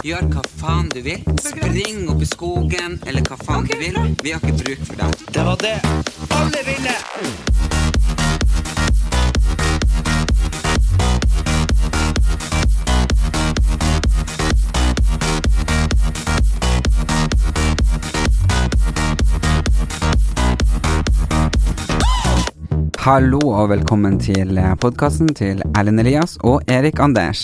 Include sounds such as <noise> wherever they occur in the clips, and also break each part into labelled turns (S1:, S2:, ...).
S1: Gjør hva faen du vil. Spring opp i skogen, eller hva faen du vil. Vi har ikke bruk for deg. Det var det alle ville! Hallo og velkommen til podkasten til Erlend Elias og Erik Anders.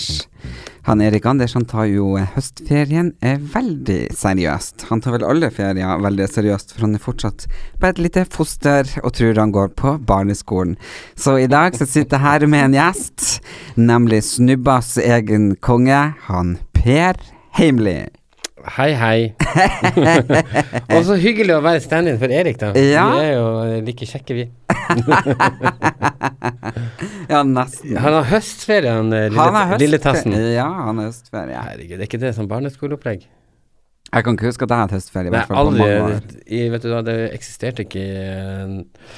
S1: Han Erik Anders han tar jo høstferien eh, veldig seriøst. Han tar vel alle ferier veldig seriøst, for han er fortsatt bare et lite foster og tror han går på barneskolen. Så i dag så sitter jeg her med en gjest, nemlig Snubbas egen konge, han Per Heimli.
S2: Hei,
S1: <laughs>
S2: hei. og så hyggelig å være stand-in for Erik, da.
S1: Ja.
S2: Vi er jo like kjekke, vi.
S1: Ja, nesten.
S2: Han har høstferie, han eh, lille,
S1: Han er høstferie.
S2: lille tassen.
S1: Ja, han har høstferie.
S2: Herregud, er ikke det sånn barneskoleopplegg?
S1: Jeg kan ikke huske at jeg har hatt høstferie. i
S2: Nei,
S1: hvert fall på
S2: aldri.
S1: mange år.
S2: I, vet du hva, det eksisterte ikke eh,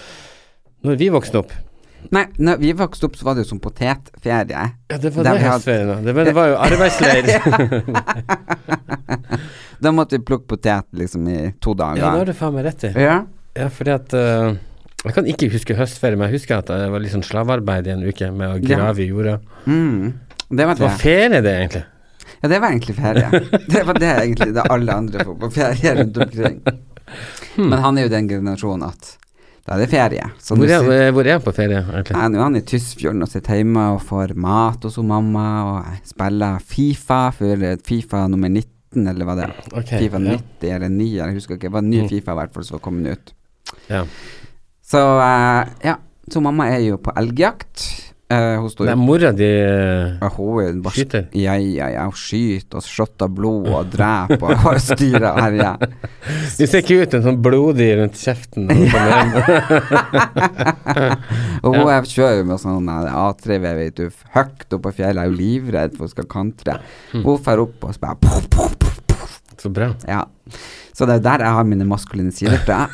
S2: når vi vokste opp.
S1: Nei, når vi vokste opp, så var det jo som potetferie.
S2: Ja, det var
S1: Der vi
S2: det
S1: hadde-
S2: høstferien, da. Det var, det
S1: <laughs>
S2: var jo arbeidsleir.
S1: Da måtte vi plukke potet liksom i to dager.
S2: ja, det har du faen meg rett i.
S1: Ja.
S2: Ja, fordi at eh, Jeg kan ikke huske høstferie, men jeg husker at det var litt sånn slavearbeid i en uke med å
S1: Ja.
S2: grave i jorda.
S1: Mm. Det var
S2: Det var
S1: det.
S2: ferie, det, egentlig.
S1: Ja, det var egentlig
S2: <laughs>
S1: ferie. Det var det egentlig det alle andre får på ferie rundt omkring. Men han er jo den generasjonen at da er det ferie. Så nå
S2: Hmm. Hvor er,
S1: sitter-
S2: hvor er han på ferie, egentlig?
S1: Nei, nå er han i Tysfjorden og sitter hjemme og får mat hos hun mamma og spiller Fifa for Fifa nummer 19, eller hva det er.
S2: Ok,
S1: Fifa
S2: ja. Mm.
S1: 90 eller 9, jeg husker ikke. Det var en ny Fifa i hvert fall som var kommet ut.
S2: Ja.
S1: Så eh, ja, så mamma er jo på elgjakt. Eh, hun står
S2: Nei,
S1: jo
S2: mora di eh,
S1: Ja, hun er jo bare-
S2: Skyter?
S1: Ja, ja, ja. Hun skyter og shotter blod og dreper og har styrer og
S2: <laughs>
S1: herjer.
S2: Du ser ikke ut en sånn blodig rundt kjeften. når du kommer hjem.
S1: <laughs> Og hun er- kjører jo med sånn eh, A3V, vet du, høyt oppe på fjellet. Hun er jo livredd for hun skal kantre.
S2: Mm.
S1: Hun drar opp og så bare puff, puff, puff, puff.
S2: Så bra.
S1: Ja. Så det er der jeg har mine maskuline sider fra.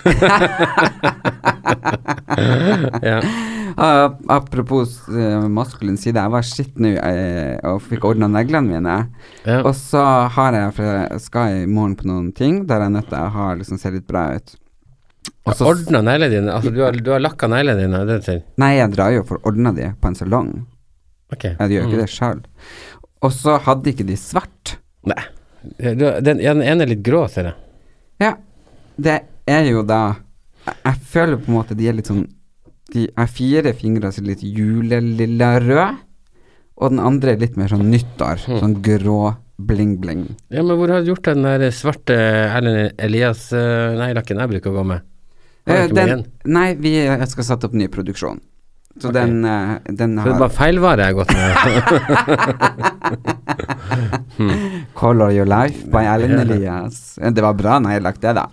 S1: <laughs>
S2: Ja.
S1: Ah, Apropos eh, maskulin side, jeg var skitt nå eh, og fikk ordna neglene mine.
S2: Ja.
S1: Og så har jeg, for jeg skal i morgen på noen ting der jeg nødt til å ha liksom ser litt bra ut. Og så-
S2: Ordna neglene dine. Altså, du har, du har lakka neglene dine. er Det du sier?
S1: Nei, jeg drar jo for å ordne de på en salong.
S2: Ok.
S1: Jeg gjør
S2: Mm.
S1: ikke det sjøl. Og så hadde ikke de svart.
S2: Mm. Nei. Du, har- den, ja, den ene er litt grå, ser jeg.
S1: Ja, det er jo da Jeg, jeg føler på en måte de er litt sånn De er fire fingre som er litt julelilla-røde, og den andre er litt mer sånn nyttår.
S2: Hmm.
S1: Sånn grå bling-bling.
S2: Ja, men hvor har du gjort av den der svarte Erlend Elias eh, Nei, lakken jeg bruker å gå med?
S1: Eh,
S2: Har du ikke med
S1: Den,
S2: igjen?
S1: nei, vi eh, skal sette opp ny produksjon. Så den, eh, den
S2: Så det er
S1: har
S2: bare feilvare jeg har gått
S1: <laughs>
S2: med.
S1: Color Your Life by Ellen Elias. Eh, Det var bra når jeg lagt det, da.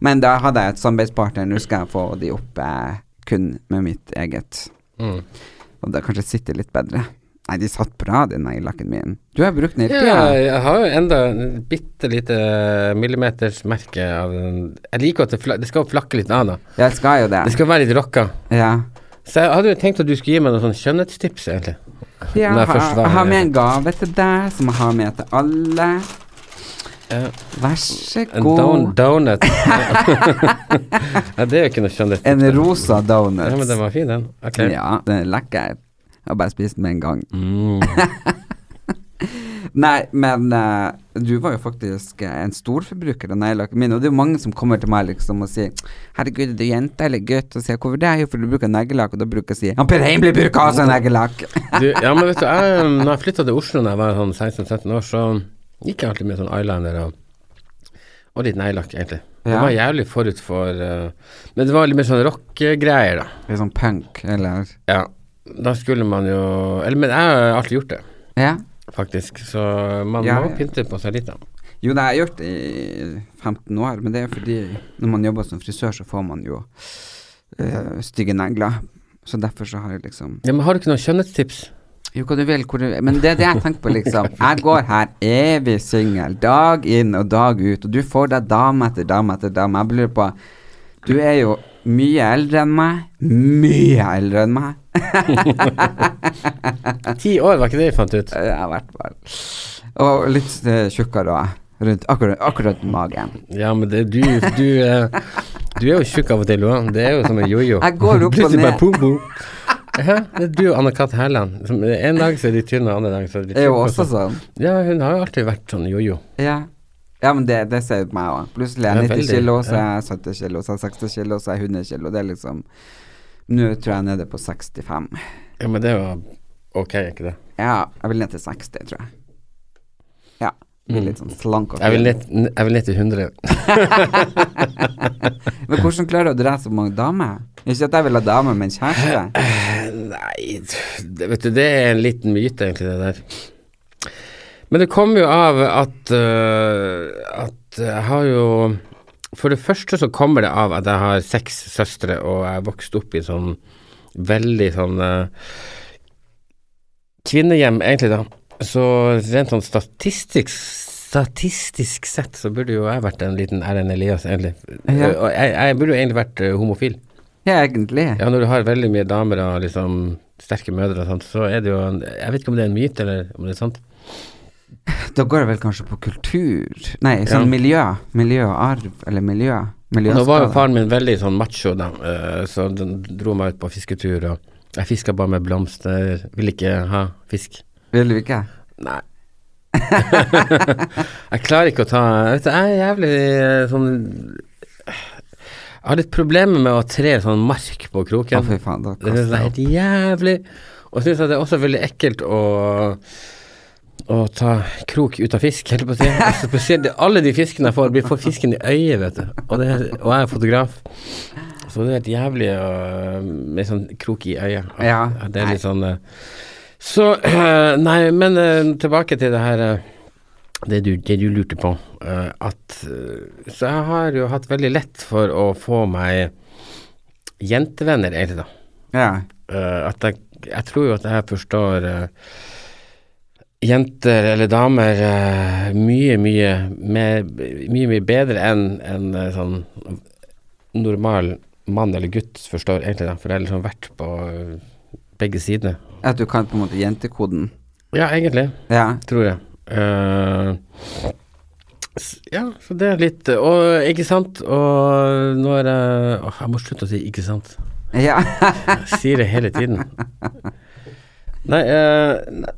S1: Men da hadde jeg et samarbeidspartner. Nå skal jeg få de opp eh, kun med mitt eget.
S2: Mm.
S1: Og det kanskje sitter litt bedre. Nei, de satt bra, den neglelakken min. Du har brukt den hele
S2: Ja,
S1: tida.
S2: jeg har jo enda et bitte lite millimetersmerke av den Jeg liker at det, fla det skal flakke litt av, da.
S1: Jeg skal jo det.
S2: Det skal være litt rocka.
S1: Ja.
S2: Så jeg hadde jo tenkt at du skulle gi meg noen sånn skjønnhetstips, egentlig.
S1: ja
S2: Når
S1: jeg,
S2: jeg først var-
S1: har med en gave til deg, som jeg har med til alle.
S2: Ja.
S1: Vær så
S2: En don
S1: god. <laughs>
S2: donut. ja, det er jo ikke noe skjønnhetstips.
S1: En rosa
S2: Ja, men
S1: donut.
S2: den var fin, den. Ok.
S1: Ja, den er lekker. Jeg har bare spist den med en gang.
S2: Mm.
S1: Nei, men eh, du var jo faktisk eh, en storforbruker av neglelakken min, og det er jo mange som kommer til meg liksom og sier 'Herregud, er du jente eller gutt?' Og sier 'Hvorfor det?' Jo, for du bruker neglelakk, og da bruker jeg å si 'Han Per Heimli bruker også neglelakk'.
S2: Du, ja, men vet du, jeg, um, når jeg flytta til Oslo da jeg var sånn 16-17 år, så gikk jeg alltid med sånn eyeliner og, og litt neglelakk, egentlig. Det
S1: Ja.
S2: var jævlig forut for eh, Men det var litt mer sånn rockegreier, da.
S1: Litt sånn punk, eller
S2: Ja. Da skulle man jo Eller, men jeg har alltid gjort det.
S1: Ja.
S2: faktisk. Så man
S1: Ja,
S2: må
S1: ja.
S2: pynte på seg litt, da.
S1: Jo, det har jeg gjort i 15 år, men det er fordi når man jobber som frisør, så får man jo eh, stygge negler. Så derfor så har jeg liksom
S2: Ja, men har du ikke noen skjønnhetstips?
S1: Jo, hva du vil, hvor du vil. Men det er det jeg tenker på, <laughs> liksom. Jeg går her evig singel, dag inn og dag ut, og du får deg dame etter dame etter dame. Jeg lurer på Du er jo mye eldre enn meg. Mye eldre enn meg.
S2: Ti år, var ikke det vi fant ut?
S1: Eh, Jeg har vært bare Og litt eh, tjukkere òg. Rundt akkurat, akkurat magen.
S2: Ja, men det, du, du, eh, du er jo tjukk av og til, du òg. Det er jo som en jojo.
S1: Jeg går opp og
S2: Plutselig bare
S1: ned.
S2: pum, pum. Hæ? Det er du og Anne-Kat. Hærland. som- eh, En dag så er de tynne, og andre dag så er de
S1: Er jo
S2: og
S1: også
S2: sånn.
S1: sånn.
S2: Ja, hun har jo alltid vært sånn jojo.
S1: Ja, ja men det, det ser ut på meg òg. Plutselig er
S2: Ja,
S1: jeg 90
S2: veldig,
S1: kilo, så er jeg 70 kilo, så er jeg 60 kilo, så er jeg 100 kilo. Det er liksom Nå tror jeg jeg er nede på 65.
S2: Ja, men det er jo ok, er ikke det?
S1: Ja, jeg vil ned til 60, tror jeg. Ja. Blir litt sånn slank og
S2: Mm. Jeg vil
S1: fin.
S2: ned, jeg vil ned til 100.
S1: Men hvordan klarer du å drepe så mange damer? Ikke at jeg vil ha dame, men
S2: <clears throat>
S1: kjæreste.
S2: Nei, det, vet du, det er en liten myte, egentlig, det der. Men det kommer jo av at øh, at jeg har jo For det første så kommer det av at jeg har seks søstre, og jeg er vokst opp i sånn veldig sånn øh, kvinnehjem, egentlig, da. Så rent sånn statistisk Statistisk sett så burde jo jeg vært en liten Erlend Elias, egentlig.
S1: Ja.
S2: Og jeg, jeg burde jo egentlig vært øh, homofil.
S1: Ja, egentlig.
S2: Ja, når du har veldig mye damer og liksom sterke mødre og sånt, så er det jo en Jeg vet ikke om det er en myte, eller om det er sant.
S1: Da går det vel kanskje på kultur Nei, sånn
S2: Ja.
S1: miljø. Miljø og arv, eller miljø.
S2: Nå var jo
S1: Miljøskade.
S2: faren min veldig sånn macho, da, eh, så den dro meg ut på fisketur, og jeg fiska bare med blomster, ville ikke ha fisk.
S1: Vil du ikke?
S2: Nei. <laughs> jeg klarer ikke å ta Vet du, jeg er jævlig eh, sånn Jeg har litt problemer med å tre sånn mark på kroken.
S1: Å, fy faen, da
S2: Det synes jeg er helt jævlig. Og så synes jeg det er også veldig ekkelt å å ta krok ut av fisk, holdt jeg på å si. Altså, Spesielt alle de fiskene jeg får, blir får fisken i øyet, vet du. Og, det, og jeg er fotograf. Så det er helt jævlig å- med sånn krok i øyet.
S1: Ja.
S2: Det er litt sånn eh, Så <clears throat> eh, Nei, men eh, tilbake til det her eh, det du, det du lurte på. eh, at eh, Så jeg har jo hatt veldig lett for å få meg jentevenner, egentlig, da.
S1: Ja.
S2: Eh, at jeg, jeg tror jo at jeg forstår eh, jenter eller damer eh, mye, mye, mer, mye, mye bedre enn enn, eh, sånn normal mann eller gutt forstår, egentlig, da. For jeg har liksom vært på eh, begge sidene.
S1: At du kan på en måte jentekoden.
S2: Ja, egentlig,
S1: Ja.
S2: tror jeg. Eh, s- ja, så det er litt Og ikke sant? Og når jeg Åh, Jeg må slutte å si 'ikke sant'.
S1: Ja. <laughs>
S2: Jeg sier det hele tiden. Nei, eh, nei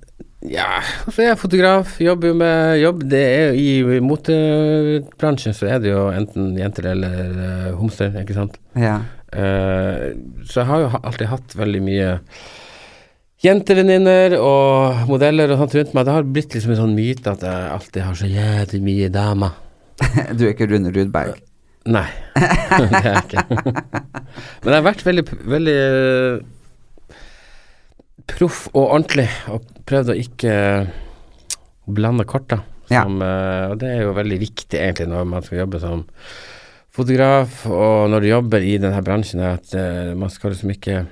S2: Ja, så er jeg fotograf, jobber jo med jobb. Det er jo I motebransjen så er det jo enten jenter eller eh, homser, ikke sant.
S1: ja.
S2: Eh, så jeg har jo ha- alltid hatt veldig mye jentevenninner og modeller og sånt rundt meg. Det har blitt liksom en sånn myte at jeg alltid har så jævlig mye damer.
S1: Du er ikke Rune Rudberg.
S2: Nei, <laughs> det er jeg
S1: <laughs>
S2: ikke. Men jeg har vært veldig, veldig eh, proff og ordentlig, og prøvd å ikke eh, blande korta.
S1: Ja.
S2: Som, eh, og det er jo veldig viktig egentlig når man skal jobbe som fotograf, og når du jobber i denne bransjen, er at eh, man skal liksom ikke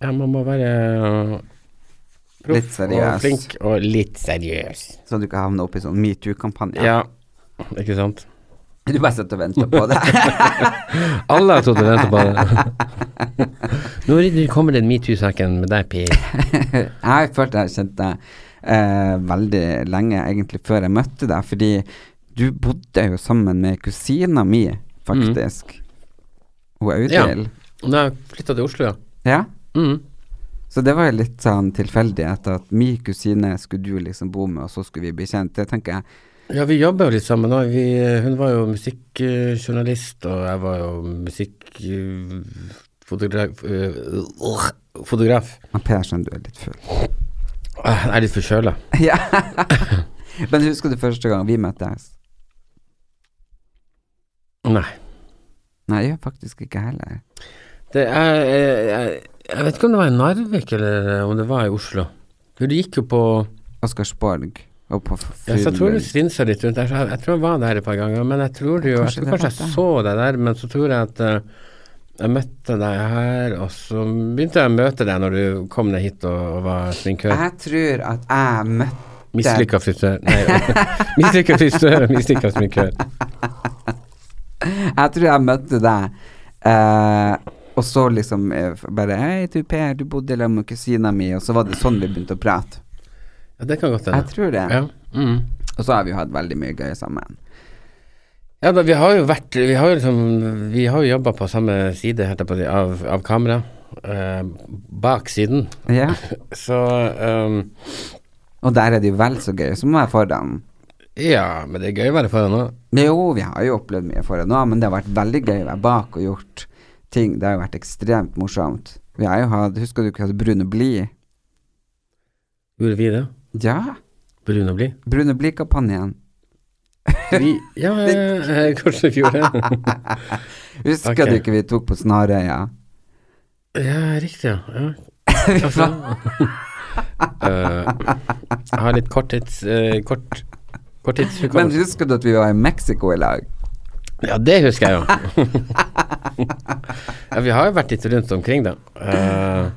S2: Ja, man må være eh,
S1: Litt
S2: proff og
S1: seriøs.
S2: flink og litt seriøs.
S1: Så du ikke havner opp i sånn metoo-kampanje.
S2: Ja, ikke sant?
S1: <laughs> Du bare sitter og venter på det. <laughs>
S2: Alle har sittet og ventet på det. <laughs> Nå er det- kommer den metoo-saken med deg, Per.
S1: Jeg har følt jeg har kjent deg eh, veldig lenge, egentlig før jeg møtte deg, fordi du bodde jo sammen med kusina mi, faktisk. Hun er
S2: Mm. Ja.
S1: Audhild.
S2: Nå har jeg flytta til Oslo, ja.
S1: Ja.
S2: Mm.
S1: Så det var jo litt sånn tilfeldighet at min kusine skulle du liksom bo med, og så skulle vi bli kjent. Det tenker jeg.
S2: Ja, vi jobber jo litt sammen òg. Hun var jo musikkjournalist, og jeg var jo musikkfotograf eh, Fotograf.
S1: Men Per, skjønner du er litt full. <laughs>
S2: Ah, Jeg er litt forkjøla. <laughs>
S1: ja. Men husker du første gang vi møttes?
S2: Nei.
S1: Nei, jeg gjør faktisk ikke heller.
S2: Det er, eh, jeg, jeg, jeg vet ikke om det var i Narvik, eller om det var i Oslo. For du gikk jo på
S1: Oscarsborg og på
S2: Ja, så jeg tror du
S1: Fugløy.
S2: svinser litt rundt der. så Jeg, jeg tror jeg var der et par ganger, men jeg tror jo Jeg
S1: Kanskje
S2: tror
S1: det
S2: kanskje
S1: var
S2: jeg så deg der, men så tror jeg at eh, jeg møtte deg her, og så begynte jeg å møte deg når du kom ned hit og, og var sminkør.
S1: Jeg tror at jeg møtte
S2: Mislykka frisør
S1: <laughs>
S2: Nei, mislykka frisør og mislykka sminkør.
S1: Jeg tror jeg møtte deg, eh, og så liksom eh, f- bare Hei, du Per, du bodde sammen med kusina mi, og så var det sånn vi begynte å prate.
S2: Ja, det kan godt
S1: Jeg
S2: hende.
S1: tror det.
S2: Ja. Mm.
S1: Og så har vi jo hatt veldig mye gøy sammen.
S2: ja da, vi har jo vært Vi har jo liksom Vi har jo jobba på samme side helt på, å si, av, av kamera. eh, bak siden. <laughs>
S1: Ja.
S2: Så ehm,
S1: Og der er det jo vel så gøy som å være foran.
S2: Ja, men det er gøy å være foran òg.
S1: Jo, vi har jo opplevd mye foran nå, men det har vært veldig gøy å være bak og gjort ting. Det har jo vært ekstremt morsomt. Vi har jo hatt Husker du ikke at Brune Bli
S2: Gjorde vi det?
S1: Ja,
S2: Brun og blid?
S1: Brune Bli-kampanjen.
S2: Vi, <laughs> ja, eh, kanskje vi gjorde det.
S1: Husker
S2: Ok.
S1: du ikke vi tok på Snarøya?
S2: Ja, riktig, ja. ja. Hva faen? <laughs> Eh, jeg har litt korttids... eh, kort,
S1: Men
S2: korttidshukommelse.
S1: husker du at vi var i Mexico i lag?
S2: Ja, det husker jeg jo. <laughs> ja, vi har jo vært litt rundt omkring, da. Eh,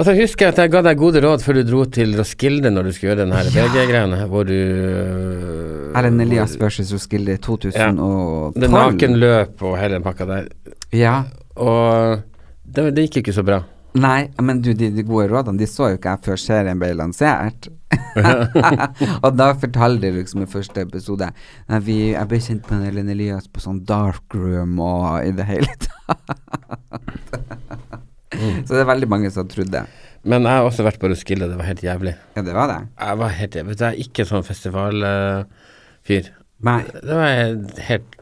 S2: og så husker jeg at jeg ga deg gode råd før du dro til Roskilde når du skulle gjøre den her VG-greiene, hvor du eh,
S1: Erlend Elias versus Roskilde i
S2: Ja.
S1: 2012.
S2: eh, Det nakenløp og hele den pakka der.
S1: Ja.
S2: Og det, det gikk ikke så bra.
S1: Nei, men du, de, de gode rådene de så jo ikke jeg før serien ble lansert. og da fortalte de liksom i første episode «Nei, vi, Jeg ble kjent med Ellen Elias på sånn dark room og i det hele tatt. Så det er veldig mange som trodde.
S2: Men jeg har også vært på Roskilde, det var helt jævlig.
S1: Ja, det var det.
S2: Jeg var helt jævlig. Jeg er ikke sånn festivalfyr.
S1: Nei.
S2: Det var helt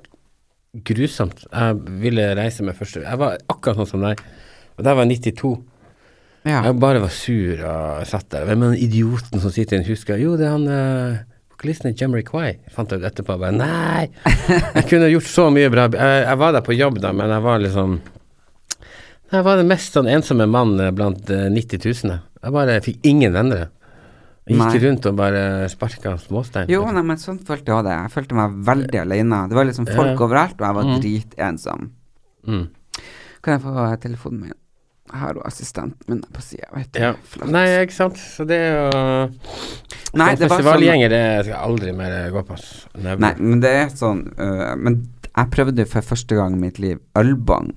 S2: grusomt. Jeg ville reise med første Jeg var akkurat sånn som deg. Og der var jeg 92.
S1: Ja.
S2: Jeg bare var sur og satt der. Hvem er den idioten som sitter i en huske? Jo, det er han eh, vokalisten i Jamaicai. Fant jeg ut etterpå. Jeg Bare nei! Jeg kunne gjort så mye bra. Jeg, jeg var der på jobb da, men jeg var liksom Jeg var den mest sånn ensomme mannen eh, blant eh, 90 000. Jeg bare fikk ingen venner. Jeg gikk
S1: Nei.
S2: rundt og bare sparka småstein.
S1: Jo, nei, men sånn følte jeg også det. Jeg følte meg veldig alene. Det var liksom folk overalt, og jeg var dritensom.
S2: Mm.
S1: Kan jeg få telefonen min? Jeg har jo assistenten min på sida, vet du.
S2: ja.
S1: Flott.
S2: Nei, ikke sant. Så det er jo
S1: Nei, det
S2: Sånn
S1: var sånn-
S2: Festivalgjenger det skal jeg aldri mer gå på. ass. Never.
S1: Nei, men det er sånn øh, Men jeg prøvde for første gang i mitt liv ølbong.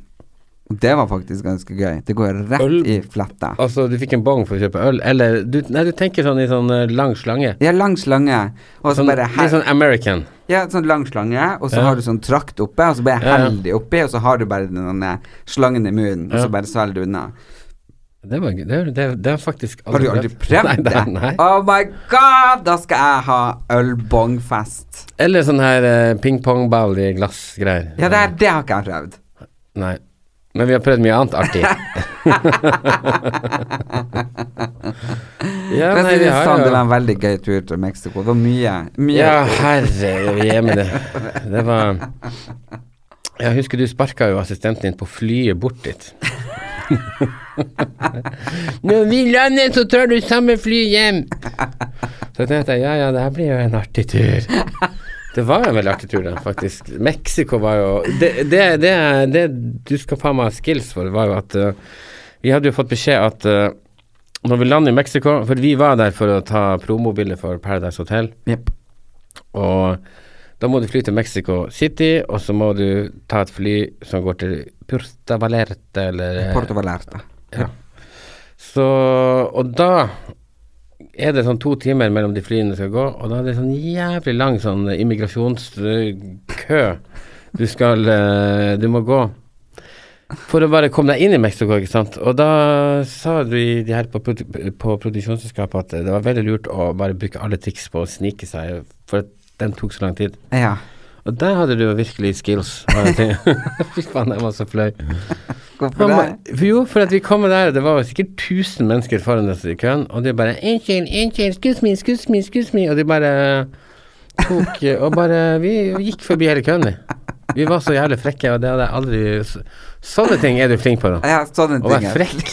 S1: Og det var faktisk ganske gøy. Det går rett
S2: Øl-
S1: i fletta.
S2: Altså, du fikk en bong for å kjøpe øl, eller du, Nei, du tenker sånn i sånn eh, lang slange.
S1: Ja, lang slange, og så Altså,
S2: Sånn,
S1: bare hel
S2: litt sånn American.
S1: Ja, sånn lang slange, og så
S2: Ja.
S1: har du sånn trakt oppe, og så bare
S2: Ja, ja.
S1: hell de oppi, og så har du bare den denne slangen i munnen, og
S2: Ja.
S1: så bare svelger du unna.
S2: Det var gøy. Det, er- det, er- det er faktisk
S1: Har du aldri prøvd
S2: <laughs> nei,
S1: det?
S2: Nei, nei.
S1: Oh my god, da skal jeg ha ølbongfest.
S2: Eller sånn her eh, pingpongball i glassgreier.
S1: Ja, det, er- det har ikke jeg prøvd.
S2: Nei. Men vi har prøvd mye annet
S1: <laughs>
S2: artig. <laughs> ja,
S1: Men
S2: nei, vi har
S1: sånn, det var
S2: jo
S1: en veldig gøy tur til Mexico. Det var mye, mye
S2: Ja, herre hjemme, det. Det var Jeg husker du sparka jo assistenten din på flyet bort dit. <laughs> Når vi lander, så tar du samme fly hjem. Så tenkte jeg ja, ja, det her blir jo en artig tur. Det var jo en veldig artig tur, da, faktisk. Mexico var jo Det, det, det, det du skal faen meg ha skills for, var jo at eh, vi hadde jo fått beskjed at eh, når vi lander i Mexico For vi var der for å ta promobilder for Paradise Hotel.
S1: Jepp.
S2: Og da må du fly til Mexico City, og så må du ta et fly som går til Puerto Valerte, eller
S1: Porto Valerte.
S2: ja. Så Og da er det sånn to timer mellom de flyene skal gå, og da er det sånn jævlig lang sånn immigrasjonskø du skal eh, Du må gå. For å bare komme deg inn i Mexico, ikke sant. Og da sa de, de her på, produ på produksjonsselskapet at det var veldig lurt å bare bruke alle triks på å snike seg, for at den tok så lang tid.
S1: Ja.
S2: Og der hadde du jo virkelig skills. var det ting. <laughs> Fy faen, jeg var så flau.
S1: Hvorfor
S2: Han
S1: det?
S2: ba- Jo, for at vi kommer der, og det var jo sikkert 1000 mennesker foran oss i køen, og de bare Unnskyld, unnskyld, excuse me, excuse me, excuse me. Og de bare tok Og bare Vi gikk forbi hele køen, vi. Vi var så jævlig frekke, og det hadde jeg aldri så- Sånne ting er du flink på, da.
S1: Ja, sånne
S2: Å
S1: ting.
S2: være
S1: ja.
S2: frekk.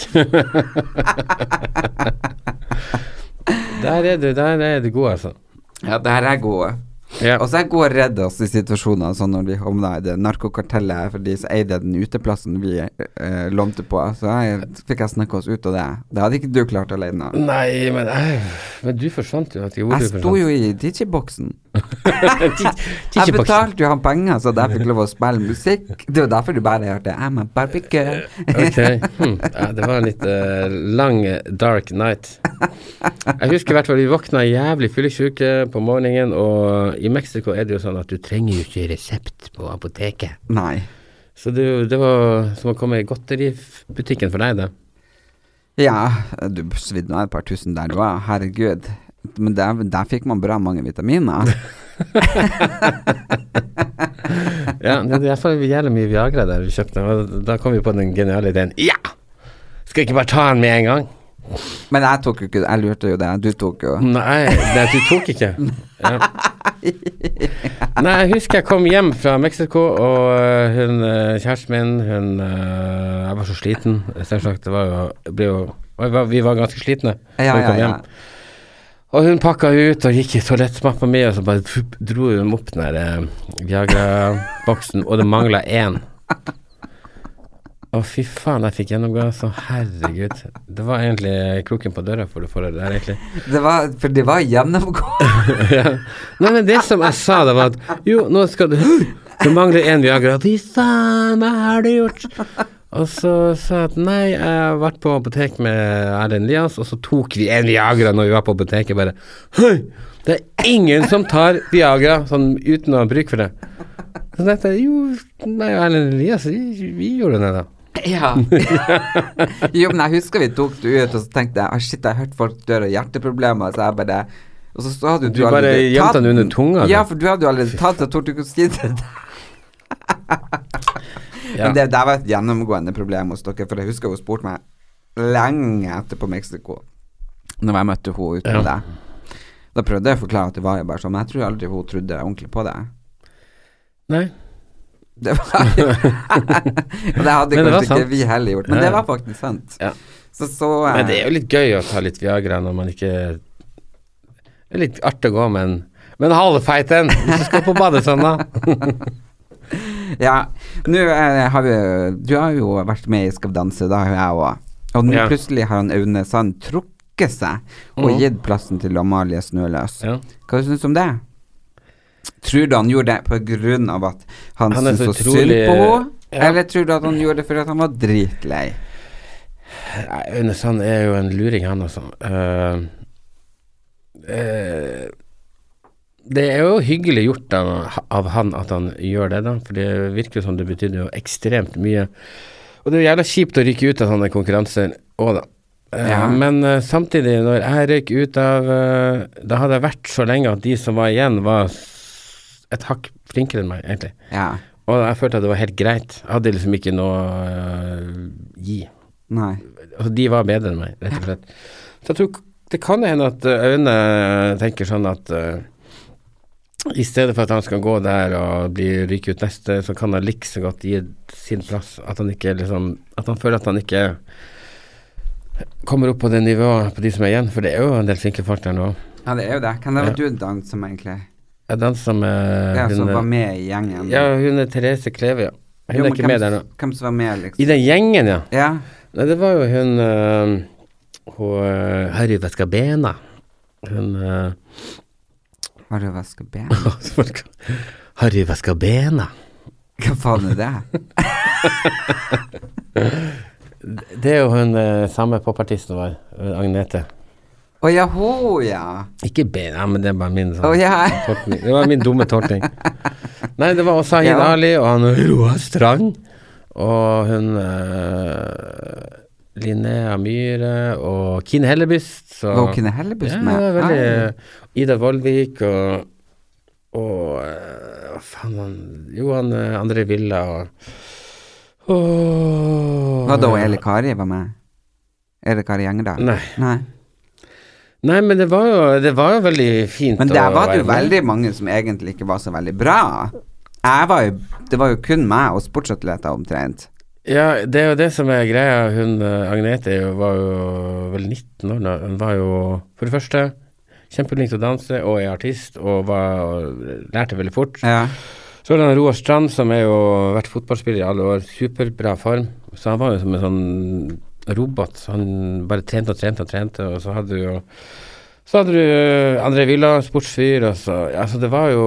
S2: <laughs> Der er du, der er du god, altså.
S1: Ja, der er gode.
S2: Ja.
S1: Og så er gode redde oss i situasjoner sånn når vi havna i det narkokartellet, for de som eide den uteplassen vi eh, lånte på, så jeg, fikk jeg snakke oss ut av det. Det hadde ikke du klart alene.
S2: Nei, men, jeg- men du forsvant jo. At
S1: Jeg sto jo i DJ-boksen. Jeg
S2: Jeg
S1: betalte jo han penger, så jeg fikk lov å spille musikk. Det var derfor du bare hørte 'I'm a barbecue'.
S2: Ok. Hm. Ja, det var en litt eh, lang eh, dark night. Jeg husker i hvert fall vi våkna jævlig fyllesyke på morgenen, og i Mexico er det jo sånn at du trenger jo ikke resept på apoteket.
S1: <laughs> Nei.
S2: Så det, er jo- det var som å komme i godteributikken for deg, det.
S1: Ja, du svidde nå et par tusen der du var, herregud. Men der, der fikk man bra mange
S2: <laughs>
S1: vitaminer.
S2: Ja, det er derfor jævlig mye Viagra der vi kjøpte, og da kom vi på den geniale ideen. Ja! Skal vi ikke bare ta den med en gang?
S1: Men jeg tok jo ikke Jeg lurte jo det. Du tok jo
S2: Nei, det, du tok
S1: <laughs>
S2: ikke. Ja. Nei, jeg husker jeg kom hjem fra Mexico, og øh, hun, øh, kjæresten min hun, øh, Jeg var så sliten, selvsagt. Det var jo, det ble jo vi var- Vi var ganske slitne
S1: Ja,
S2: da vi
S1: ja,
S2: kom
S1: ja.
S2: hjem. Og hun pakka ut og gikk i toalettmappa mi, og så bare fup, dro hun opp den der eh, Viagra-boksen, og det mangla én. Å, fy faen, jeg fikk gjennomgå. Så herregud. Det var egentlig kroken på døra for det forholdet der, egentlig.
S1: Det var, for det var gjennomgående.
S2: <laughs> Nei, men det som jeg sa da var at Jo, nå skal du Det mangler en Viagra Fy faen, hva har du gjort? Og så sa jeg at nei, jeg har vært på apotek med Erlend Elias Og så tok vi en Viagra når vi var på apoteket Bare, høy, det er ingen som tar Viagra Sånn uten å ha bruk for det Så tenkte jeg, jo, nei, Erlend Elias Vi, vi gjorde det da
S1: Ja. <laughs> jo, men jeg husker vi tok det ut, og så tenkte jeg ah, shit, jeg har hørt folk dør av hjerteproblemer, så jeg bare Og så, så hadde jo
S2: Du bare
S1: allerede
S2: gjemte
S1: tatt
S2: den under tunga,
S1: Ja,
S2: da.
S1: for du hadde jo allerede tatt det, torde du ikke å si det.
S2: Ja.
S1: Men det der var et gjennomgående problem hos dere, for jeg husker hun spurte meg lenge etterpå Mexico, når jeg møtte henne uten
S2: Ja.
S1: deg. Da prøvde jeg å forklare at det var jo bare sånn, men jeg tror aldri hun trodde ordentlig på det.
S2: Nei,
S1: Det var
S2: <laughs>
S1: <laughs> Og det hadde
S2: Men det var
S1: kanskje
S2: sant.
S1: ikke vi heller gjort, men
S2: Ja.
S1: det var faktisk sant.
S2: Ja.
S1: Så så
S2: men det
S1: eh,
S2: er jo litt gøy å ta litt Viagra Når man ikke Det er litt artig å gå, men Men halvfeiten, hvis du skal på badesand da
S1: Ja. Nå eh, har vi Du har jo vært med i Skal vi danse, da har jo jeg òg. Og nå
S2: Ja.
S1: plutselig har han Aune Sand trukket seg og
S2: Mhm.
S1: gitt plassen til Amalie Snøløs.
S2: Ja.
S1: Hva syns du om det? Tror du han gjorde det på grunn av at han,
S2: Han er så
S1: syntes så synd
S2: utrolig-
S1: på henne?
S2: Ja.
S1: Eller tror du at han gjorde det fordi at han var dritlei?
S2: Nei, Aune Sand er jo en luring, han altså. Eh, eh, det er jo hyggelig gjort av, av han at han gjør det, da. For det virker jo som det betydde jo ekstremt mye. Og det er jo jævla kjipt å ryke ut av sånne konkurranser òg, da. Eh,
S1: Ja.
S2: Men eh, samtidig, når jeg røyk ut av eh, Da hadde jeg vært så lenge at de som var igjen, var s- et hakk flinkere enn meg, egentlig.
S1: Ja.
S2: Og jeg følte at det var helt greit. Jeg hadde liksom ikke noe å gi.
S1: Nei.
S2: Altså, de var bedre enn meg, rett og slett. Så jeg tror k- det kan hende at eh, Aune tenker sånn at eh, i stedet for at han skal gå der og bli ryke ut neste, så kan han like så godt gi sin plass. At han ikke liksom At han føler at han ikke kommer opp på det nivået på de som er igjen, for det er jo en del flinke folk der nå.
S1: Ja, det er jo det. Hvem var det du danset med, egentlig?
S2: Jeg dansa med
S1: Ja, som
S2: hun, eh,
S1: var med i gjengen?
S2: ja, hun er Therese Kleve, ja. Hun
S1: Jo,
S2: er
S1: men
S2: ikke
S1: hvem
S2: med der nå.
S1: s- Hvem som var med, liksom?
S2: I den gjengen, ja.
S1: Ja.
S2: Nei, det var jo hun øh, Hun øh, Harry Vescabena. Hun øh,
S1: Har du vaska
S2: <laughs>
S1: ben?
S2: folk- <laughs> Harry Vescabena.
S1: Hva faen er det?
S2: Det er jo hun øh, samme popartisten vår, øh, Agnete.
S1: Å ja, ho, ja.
S2: Ikke Bena, men det er bare min sånn
S1: Å ja.
S2: tolkning. Det var min dumme
S1: <laughs>
S2: tolkning. Nei, det var også Ayin
S1: Ja.
S2: Ali og han Roar Strand. Og hun øh, Linnea Myhre og Kine Hellebyst. så-
S1: Var hun Kine Hellebyst
S2: ja,
S1: med?
S2: Ja, veldig.
S1: Ah.
S2: Ida Vollvik og og eh, hva faen han Johan eh, André Villa og Åh.
S1: Var det hun Eli Kari var med? Eli Kari Gjengedal?
S2: Nei.
S1: Nei.
S2: Nei, men det var jo, det var jo veldig fint
S1: Men der
S2: å
S1: var det jo
S2: være med.
S1: veldig mange som egentlig ikke var så veldig bra. Jeg var jo Det var jo kun meg og sportsatleter omtrent.
S2: Ja, det er jo det som er greia. Hun eh, Agnete er jo- var jo vel 19 år da. Hun var jo for det første kjempeflink til å danse og er artist og var, lærte veldig fort.
S1: Ja.
S2: Så er det han Roar Strand, som er jo har vært fotballspiller i alle år, superbra form. Så han var jo som en sånn robot. så Han bare trente og trente og trente, og så hadde du jo Så hadde du eh, André Villa, sportsfyr, og så Ja, så det var jo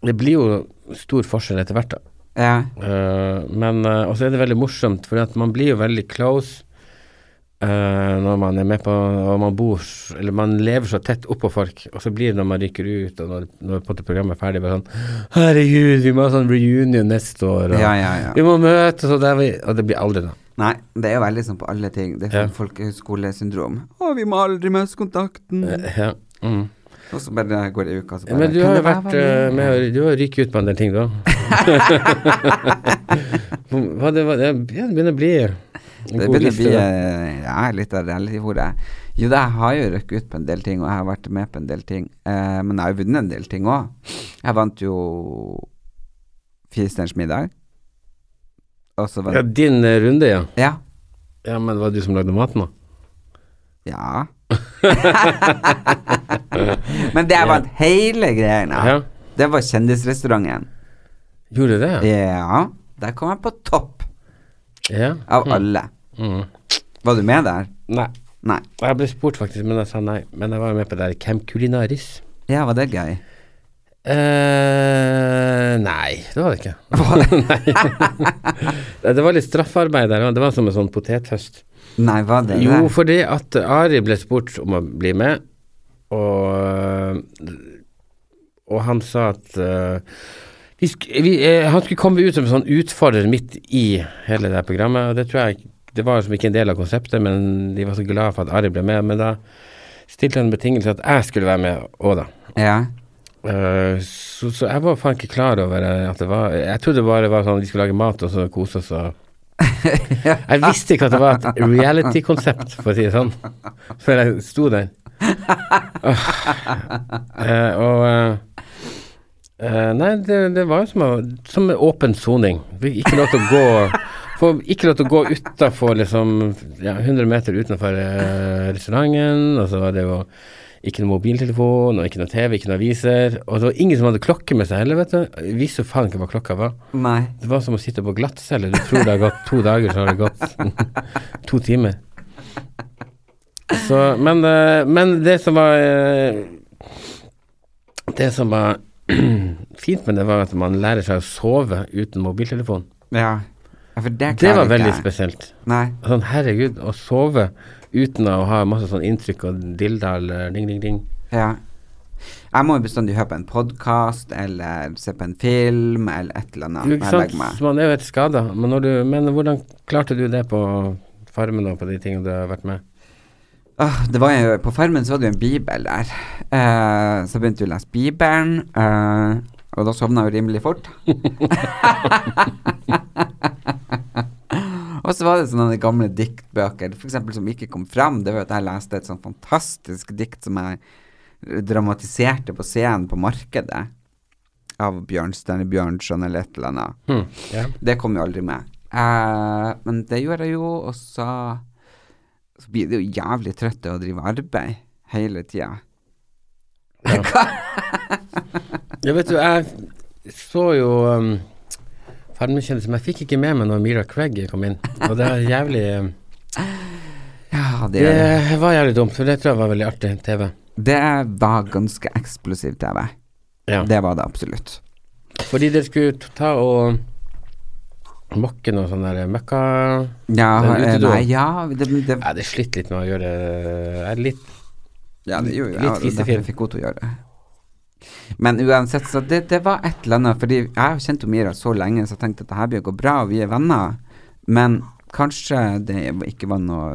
S2: Det blir jo stor forskjell etter hvert, da.
S1: ja.
S2: Eh, men uh, også er det veldig morsomt, for man blir jo veldig close eh, når man er med på og man bor s- Eller man lever så tett oppå folk, og så blir det når man ryker ut, og når, når på en måte programmet er ferdig, bare sånn Herregud, vi må ha sånn reunion neste år, og
S1: Ja, ja, ja.
S2: vi må møtes, og, der vi, og det blir aldri noe.
S1: Nei, det er jo veldig sånn på alle ting. Det er
S2: Ja.
S1: sånn folkehøyskolesyndrom. Å, vi må aldri møtes kontakten.
S2: Ja. Mm.
S1: Og så bare går det ei uke, og så bare
S2: Men du
S1: «Kan
S2: har jo
S1: det være
S2: vært
S1: veldig?»
S2: eh, med å- Du har ryket ut på en del ting, da.
S1: <laughs>
S2: hva det, hva, det ja, det begynner å bli en
S1: Det
S2: god
S1: begynner å
S2: liste,
S1: bli
S2: da.
S1: eh, ja, litt av rell i hodet. Jo da, jeg har jo røkket ut på en del ting, og jeg har vært med på en del ting. Eh, men jeg har jo vunnet en del ting òg. Jeg vant jo Firestjerners middag. Og så
S2: Ja,
S1: vant
S2: din eh, runde, ja.
S1: Ja.
S2: Ja, men var det du som lagde maten, da?
S1: Ja. <laughs> men det jeg vant hele greia.
S2: Ja.
S1: Det var kjendisrestauranten.
S2: Gjorde du det?
S1: Ja. Der kom jeg på topp
S2: Ja.
S1: av alle.
S2: Mm.
S1: Var du med der?
S2: Nei.
S1: Nei.
S2: Jeg ble spurt faktisk, men jeg sa nei. Men jeg var jo med på det der Camp Culinaris.
S1: Ja, var det gøy?
S2: eh nei, det var det ikke. <laughs> nei. <laughs> det var litt straffarbeid der. Det var som en sånn potethøst.
S1: Nei, var det det?
S2: Jo, fordi at Ari ble spurt om å bli med, og, og han sa at eh, vi sk vi, eh, han skulle komme ut som en sånn utfordrer midt i hele det her programmet, og det tror jeg det var som ikke en del av konseptet, men de var så glad for at Ari ble med. Men da stilte han en betingelse at jeg skulle være med òg, da.
S1: Ja.
S2: Eh, så, så jeg var faen ikke klar over eh, at det var Jeg trodde det bare var sånn vi skulle lage mat og så kose oss og Jeg visste ikke at det var et reality-konsept, for å si det sånn, før jeg sto der. Eh, og eh, eh, Nei, det, det var jo som, å- som en åpen soning. Fikk Ikke lov til å gå Får ikke lov til å gå utafor liksom ja, 100 meter utenfor eh, restauranten, og så var det jo ikke noe mobiltelefon, og ikke noe TV, ikke noe aviser. Og det var ingen som hadde klokke med seg heller, vet du. Jeg visste jo faen ikke hva klokka var.
S1: Nei.
S2: Det var som å sitte på glattcelle. Du tror det har gått to dager, så har det gått <laughs> to timer. Så, men, eh, men det som var eh, Det som var <clears throat> fint med det, var at man lærer seg å sove uten mobiltelefon.
S1: Ja. ja for det,
S2: Det
S1: klarer
S2: var
S1: ikke
S2: veldig
S1: jeg.
S2: spesielt.
S1: Nei.
S2: Sånn, herregud, å sove uten å ha masse sånn inntrykk og dilda eller ding, ding, ding.
S1: Ja. Jeg må jo bestandig høre på en podkast eller se på en film eller et eller annet.
S2: Jo,
S1: når
S2: ikke
S1: jeg
S2: sant?
S1: legger meg.
S2: Så man er jo helt skada. Men, når du- men hvordan klarte du det på Farmen og på de tingene du har vært
S1: Åh,
S2: med?
S1: Ah, det var jo, på Farmen så var det jo en bibel der. Eh, så begynte vi å lese Bibelen, eh, og da sovna jeg jo rimelig fort. og så var det sånne gamle diktbøker for eksempel, som ikke kom fram. Det var jo at jeg leste et sånt fantastisk dikt som jeg dramatiserte på scenen på Markedet. Av Bjørnstjerne Bjørnson eller et eller annet.
S2: Hm, ja.
S1: Det kom jo aldri med. Eh, men det gjorde jeg jo, og så Så blir det jo jævlig trøtt av å drive arbeid hele tida.
S2: Ja, vet du, jeg så jo um, Farmen-kjendisen, men jeg fikk ikke med meg når Mira Craig kom inn. Og det er jævlig um,
S1: Ja, <laughs> det,
S2: Det var jævlig dumt, for det tror jeg var veldig artig TV.
S1: det var ganske eksplosiv TV.
S2: Ja.
S1: Det var det absolutt.
S2: Fordi dere skulle t- ta og mokke noe sånn der møkka
S1: Ja,
S2: Den
S1: eh,
S2: utedoen.
S1: nei, ja det, det,
S2: Jeg hadde slitt litt med å gjøre eh, Jeg er litt
S1: ja, det gjorde jeg, og
S2: litt
S1: derfor
S2: fisefin.
S1: fikk henne til å gjøre det. Men uansett, så det, det var et eller annet Fordi jeg har kjent jo Mira så lenge, så jeg tenkte at det her blir å gå bra, og vi er venner. Men kanskje det ikke var noe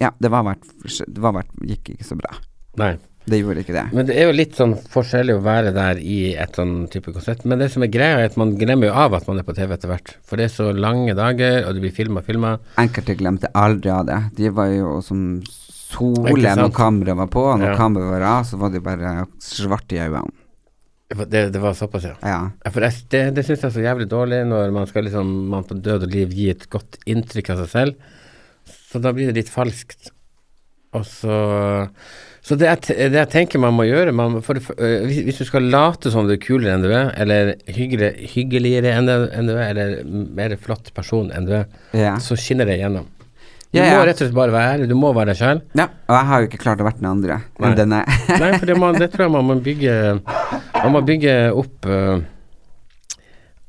S1: Ja, det var vært, det var vært, gikk ikke så bra.
S2: Nei.
S1: Det gjorde ikke det.
S2: Men det er jo litt sånn forskjellig å være der i et sånn type konsert. Men det som er greia, er at man glemmer jo av at man er på TV etter hvert. For det er så lange dager, og det blir filma og filma.
S1: Enkelte glemte aldri av det. De var jo som
S2: Ikke
S1: solen
S2: sant?
S1: når kameraet var på, og når
S2: Ja.
S1: kameraet var av, så var de bare svarte i øynene.
S2: Det, det var såpass, ja.
S1: Ja.
S2: Ja, for jeg, det, det syns jeg er så jævlig dårlig når man skal liksom man på død og liv gi et godt inntrykk av seg selv. Så da blir det litt falskt. Og så så det jeg, te- det jeg tenker man må gjøre man, må- for, det f- øh, hvis, hvis du skal late som du er kulere enn du er, eller hyggelig, hyggeligere enn, du- enn du er, eller mer flott person enn du er,
S1: Ja.
S2: så skinner det igjennom. Du
S1: Ja, ja.
S2: må rett og slett bare være ærlig, du må være deg sjøl.
S1: Ja, og jeg har jo ikke klart å være den andre
S2: Nei.
S1: enn denne.
S2: Nei, for det, må, det tror jeg man må bygge Man må bygge opp øh,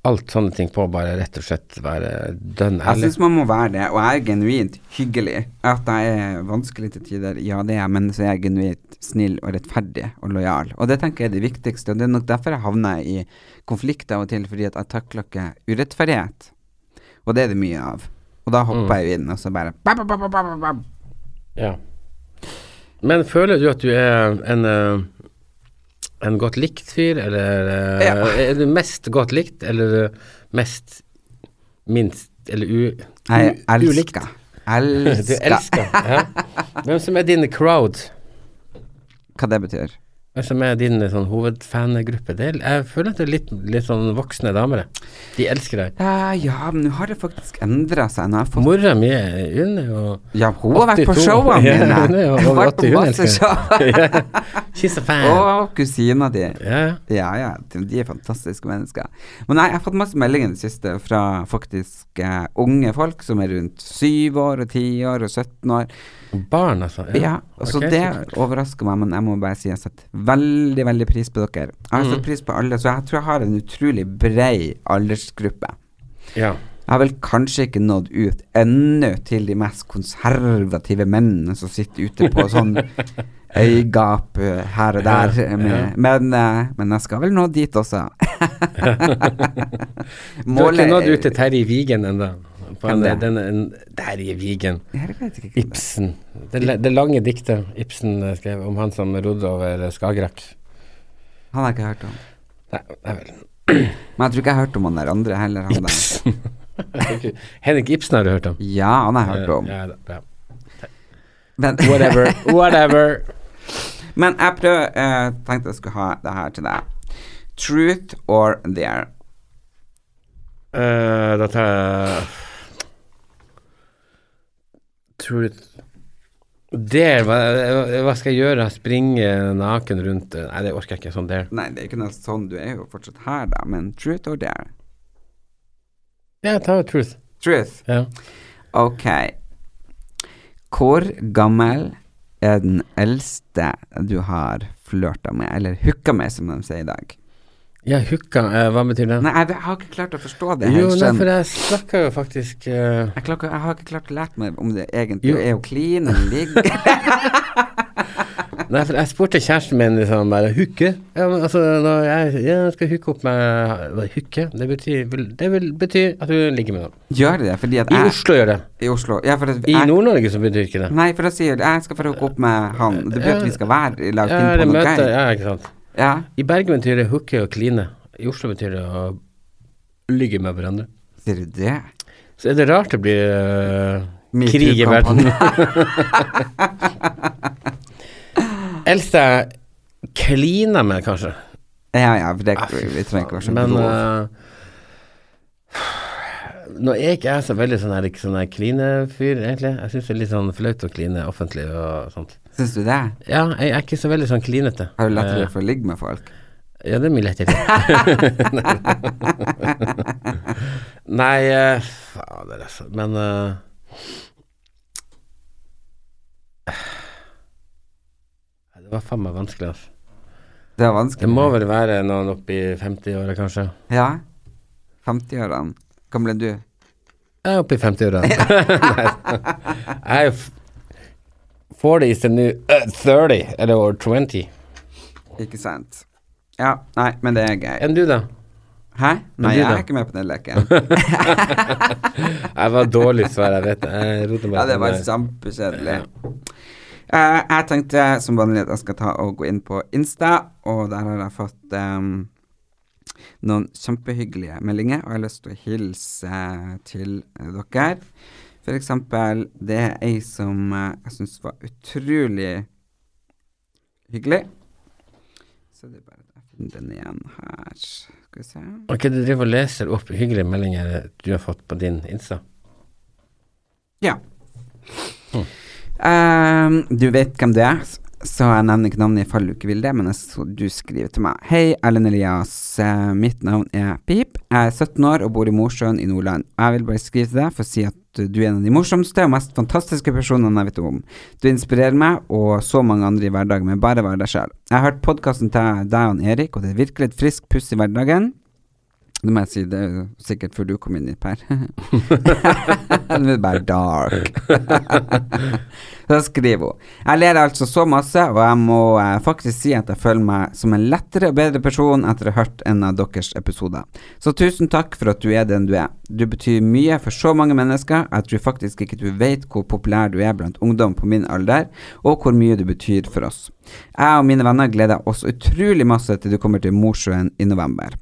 S2: alt sånne ting på, bare rett og slett være dønn
S1: Jeg
S2: ærlig.
S1: syns man må være det, og jeg er genuint hyggelig. At jeg er vanskelig til tider, ja det er jeg, men så er jeg genuint snill og rettferdig og lojal. Og det tenker jeg er det viktigste, og det er nok derfor jeg havner i konflikt av og til, fordi at jeg takler ikke urettferdighet. Og det er det mye av. Og da
S2: Mm.
S1: hopper jeg jo inn, og så bare bap, bap, bap, bap, bap, bap.
S2: Ja. Men føler du at du er en øh, en godt likt fyr, eller øh,
S1: Ja.
S2: Er du mest godt likt, eller øh, mest minst, eller u...
S1: Jeg
S2: u- ulikt? <laughs>
S1: elsker.
S2: Du
S1: Elsker.
S2: elsker. Ja. Hvem som er din crowd?
S1: Hva det betyr.
S2: Hvem som er din eh, sånn, hovedfangruppe? Det er, jeg føler at det er litt, litt sånn voksne damer. det. De elsker deg.
S1: Ja, ja, men nå har det faktisk endra seg. Nå har jeg fått
S2: Mora mi er Unni, og
S1: Ja, hun har vært på
S2: 82.
S1: showene
S2: <laughs> Ja,
S1: mine.
S2: hun er jo
S1: Hun har
S2: over
S1: vært
S2: 80,
S1: på
S2: hun
S1: masse
S2: elsker
S1: show.
S2: She's a fan.
S1: Og kusina di.
S2: Ja, ja.
S1: Ja, ja, de de er fantastiske mennesker. Men nei, jeg har fått masse meldinger i det siste fra faktisk eh, unge folk som er rundt syv år og ti år og 17 år.
S2: Barn, altså.
S1: Ja, og så
S2: Ok,
S1: det
S2: så kult.
S1: overrasker meg, men jeg må bare si jeg setter veldig, veldig pris på dere. Jeg har satt pris på alle, så jeg tror jeg har en utrolig brei aldersgruppe.
S2: Ja.
S1: Jeg har vel kanskje ikke nådd ut ennå til de mest konservative mennene som sitter ute på
S2: <laughs>
S1: sånn øygap eh, her og der. Med, men, eh, men jeg skal vel nå dit også.
S2: <laughs> Du har ikke
S1: Målet-
S2: nådd ut til Terje Vigen ennå.
S1: Hvem det er?
S2: Terje Vigen.
S1: Jeg vet ikke. hvem det er.
S2: Ibsen. Det, la- det lange diktet Ibsen eh, skrev om han som rodde over Skagerrak.
S1: Han har jeg ikke hørt om.
S2: Nei, nei vel.
S1: Men jeg tror ikke jeg har hørt om han der andre heller. Han der.
S2: Henrik Ibsen har du hørt om?
S1: Ja, han har jeg hørt om.
S2: Ja, da, bra.
S1: Men,
S2: Whatever. <laughs> Whatever.
S1: <laughs> men jeg prøver, eh, tenkte jeg skulle ha det her til deg. Truth or dare?
S2: Eh, da tar jeg Tror du Der, hva, hva skal jeg gjøre? Springe naken rundt eh, Nei, det orker jeg ikke. Sånn der.
S1: Nei, det er ikke noe sånn, du er jo fortsatt her, da. Men truth or dare?
S2: Ja, ta truth.
S1: Truth.
S2: Ja.
S1: Ok. Hvor gammel er den eldste du har flørta med, eller hooka med, som de sier i dag?
S2: ja hooka, eh, hva betyr det?
S1: Nei, jeg, jeg har ikke klart å forstå det.
S2: jo,
S1: helt
S2: nei,
S1: skjønn.
S2: for jeg snakka jo faktisk eh,
S1: jeg, klarer ikke- jeg har ikke klart å lære meg om det egentlig
S2: Jo.
S1: er å kline eller
S2: <laughs>
S1: ligge.
S2: Nei, for jeg spurte kjæresten min liksom bare Hooke? Ja, men altså, når jeg, ja, jeg skal hooke opp med hva, Hooke? Det betyr, vil- det vil bety at du ligger med noen.
S1: Gjør det det? Fordi at
S2: I
S1: jeg
S2: Oslo gjør det.
S1: I Oslo. Ja, for at
S2: I
S1: jeg-
S2: Nord-Norge så betyr ikke det.
S1: Nei, for da sier du jeg skal få hooke opp med han. Det betyr at vi skal være i lag.
S2: Ja,
S1: finne
S2: det
S1: på noe
S2: møter,
S1: gøy.
S2: ja, ikke sant.
S1: Ja.
S2: I Bergen betyr det hooke og kline. I Oslo betyr det å ligge med hverandre.
S1: Sier du det?
S2: Så er det rart det blir øh,
S1: Metoo
S2: krig i verden. Eldste jeg klina med, kanskje.
S1: <laughs> Ja ja, for det, vi trenger ikke være så
S2: Men eh,
S1: grove.
S2: øh, nå er ikke jeg så veldig sånn her, ikke sånn her klinefyr, egentlig. Jeg syns det er litt sånn flaut å kline offentlig og sånt.
S1: Syns du det?
S2: Ja, jeg er ikke så veldig sånn klinete.
S1: Har du
S2: Eh,
S1: lettere for å ligge med folk?
S2: Ja, det er mye lettere. <laughs> Nei, eh, fader altså. Men eh, <sighs> Det var faen meg vanskelig, altså.
S1: Det er vanskelig.
S2: Det må vel være noen oppi 50-åra, kanskje.
S1: Ja. 50-årene. Hvor ble du?
S2: Jeg er oppi
S1: <laughs>
S2: 50-åra. Nei. Jeg er f- 40 is the new eh, 30, eller over 20.
S1: Ikke sant? Ja, nei, men det er gøy.
S2: Enn du, da?
S1: Hæ? Nei,
S2: du
S1: jeg
S2: da?
S1: er ikke med på den
S2: <laughs>
S1: leken.
S2: Jeg var dårlig svar, jeg vet det. Jeg roter meg
S1: Ja, det
S2: til
S1: var
S2: det.
S1: kjempekjedelig. Eh, jeg tenkte som vanlig at jeg skal ta og gå inn på Insta, og der har jeg fått ehm, noen kjempehyggelige meldinger, og jeg har lyst til å hilse til eh, dere. For eksempel, det er ei som eh, jeg syns var utrolig hyggelig. Så det er bare at jeg finner den igjen her. Skal vi se.
S2: Ok, du driver og leser opp hyggelige meldinger du har fått på din Insta.
S1: Ja. Ehm, du vet hvem du er, s- så jeg nevner ikke navnet i fall du ikke vil det, men jeg så du skriver til meg. Hei, Ellen Elias. Eh, Mitt navn er Pip. Jeg er 17 år og bor i Mosjøen i Nordland. Jeg vil bare skrive til deg for å si at du er en av de morsomste og mest fantastiske personene jeg vet om. Du inspirerer meg og så mange andre i hverdagen med bare å være deg sjøl. Jeg har hørt podkasten til deg og han Erik, og det er virkelig et friskt pust i hverdagen. Det må jeg si, det er jo sikkert før du kom inn hit, Per. <laughs> det er bare <laughs> dark. Da skriver hun Jeg ler altså så masse, og jeg må eh, faktisk si at jeg føler meg som en lettere og bedre person etter å ha hørt en av deres episoder. Så tusen takk for at du er den du er. Du betyr mye for så mange mennesker. Jeg tror faktisk ikke du vet hvor populær du er blant ungdom på min alder, og hvor mye du betyr for oss. Jeg og mine venner gleder oss utrolig masse til du kommer til Mosjøen i november.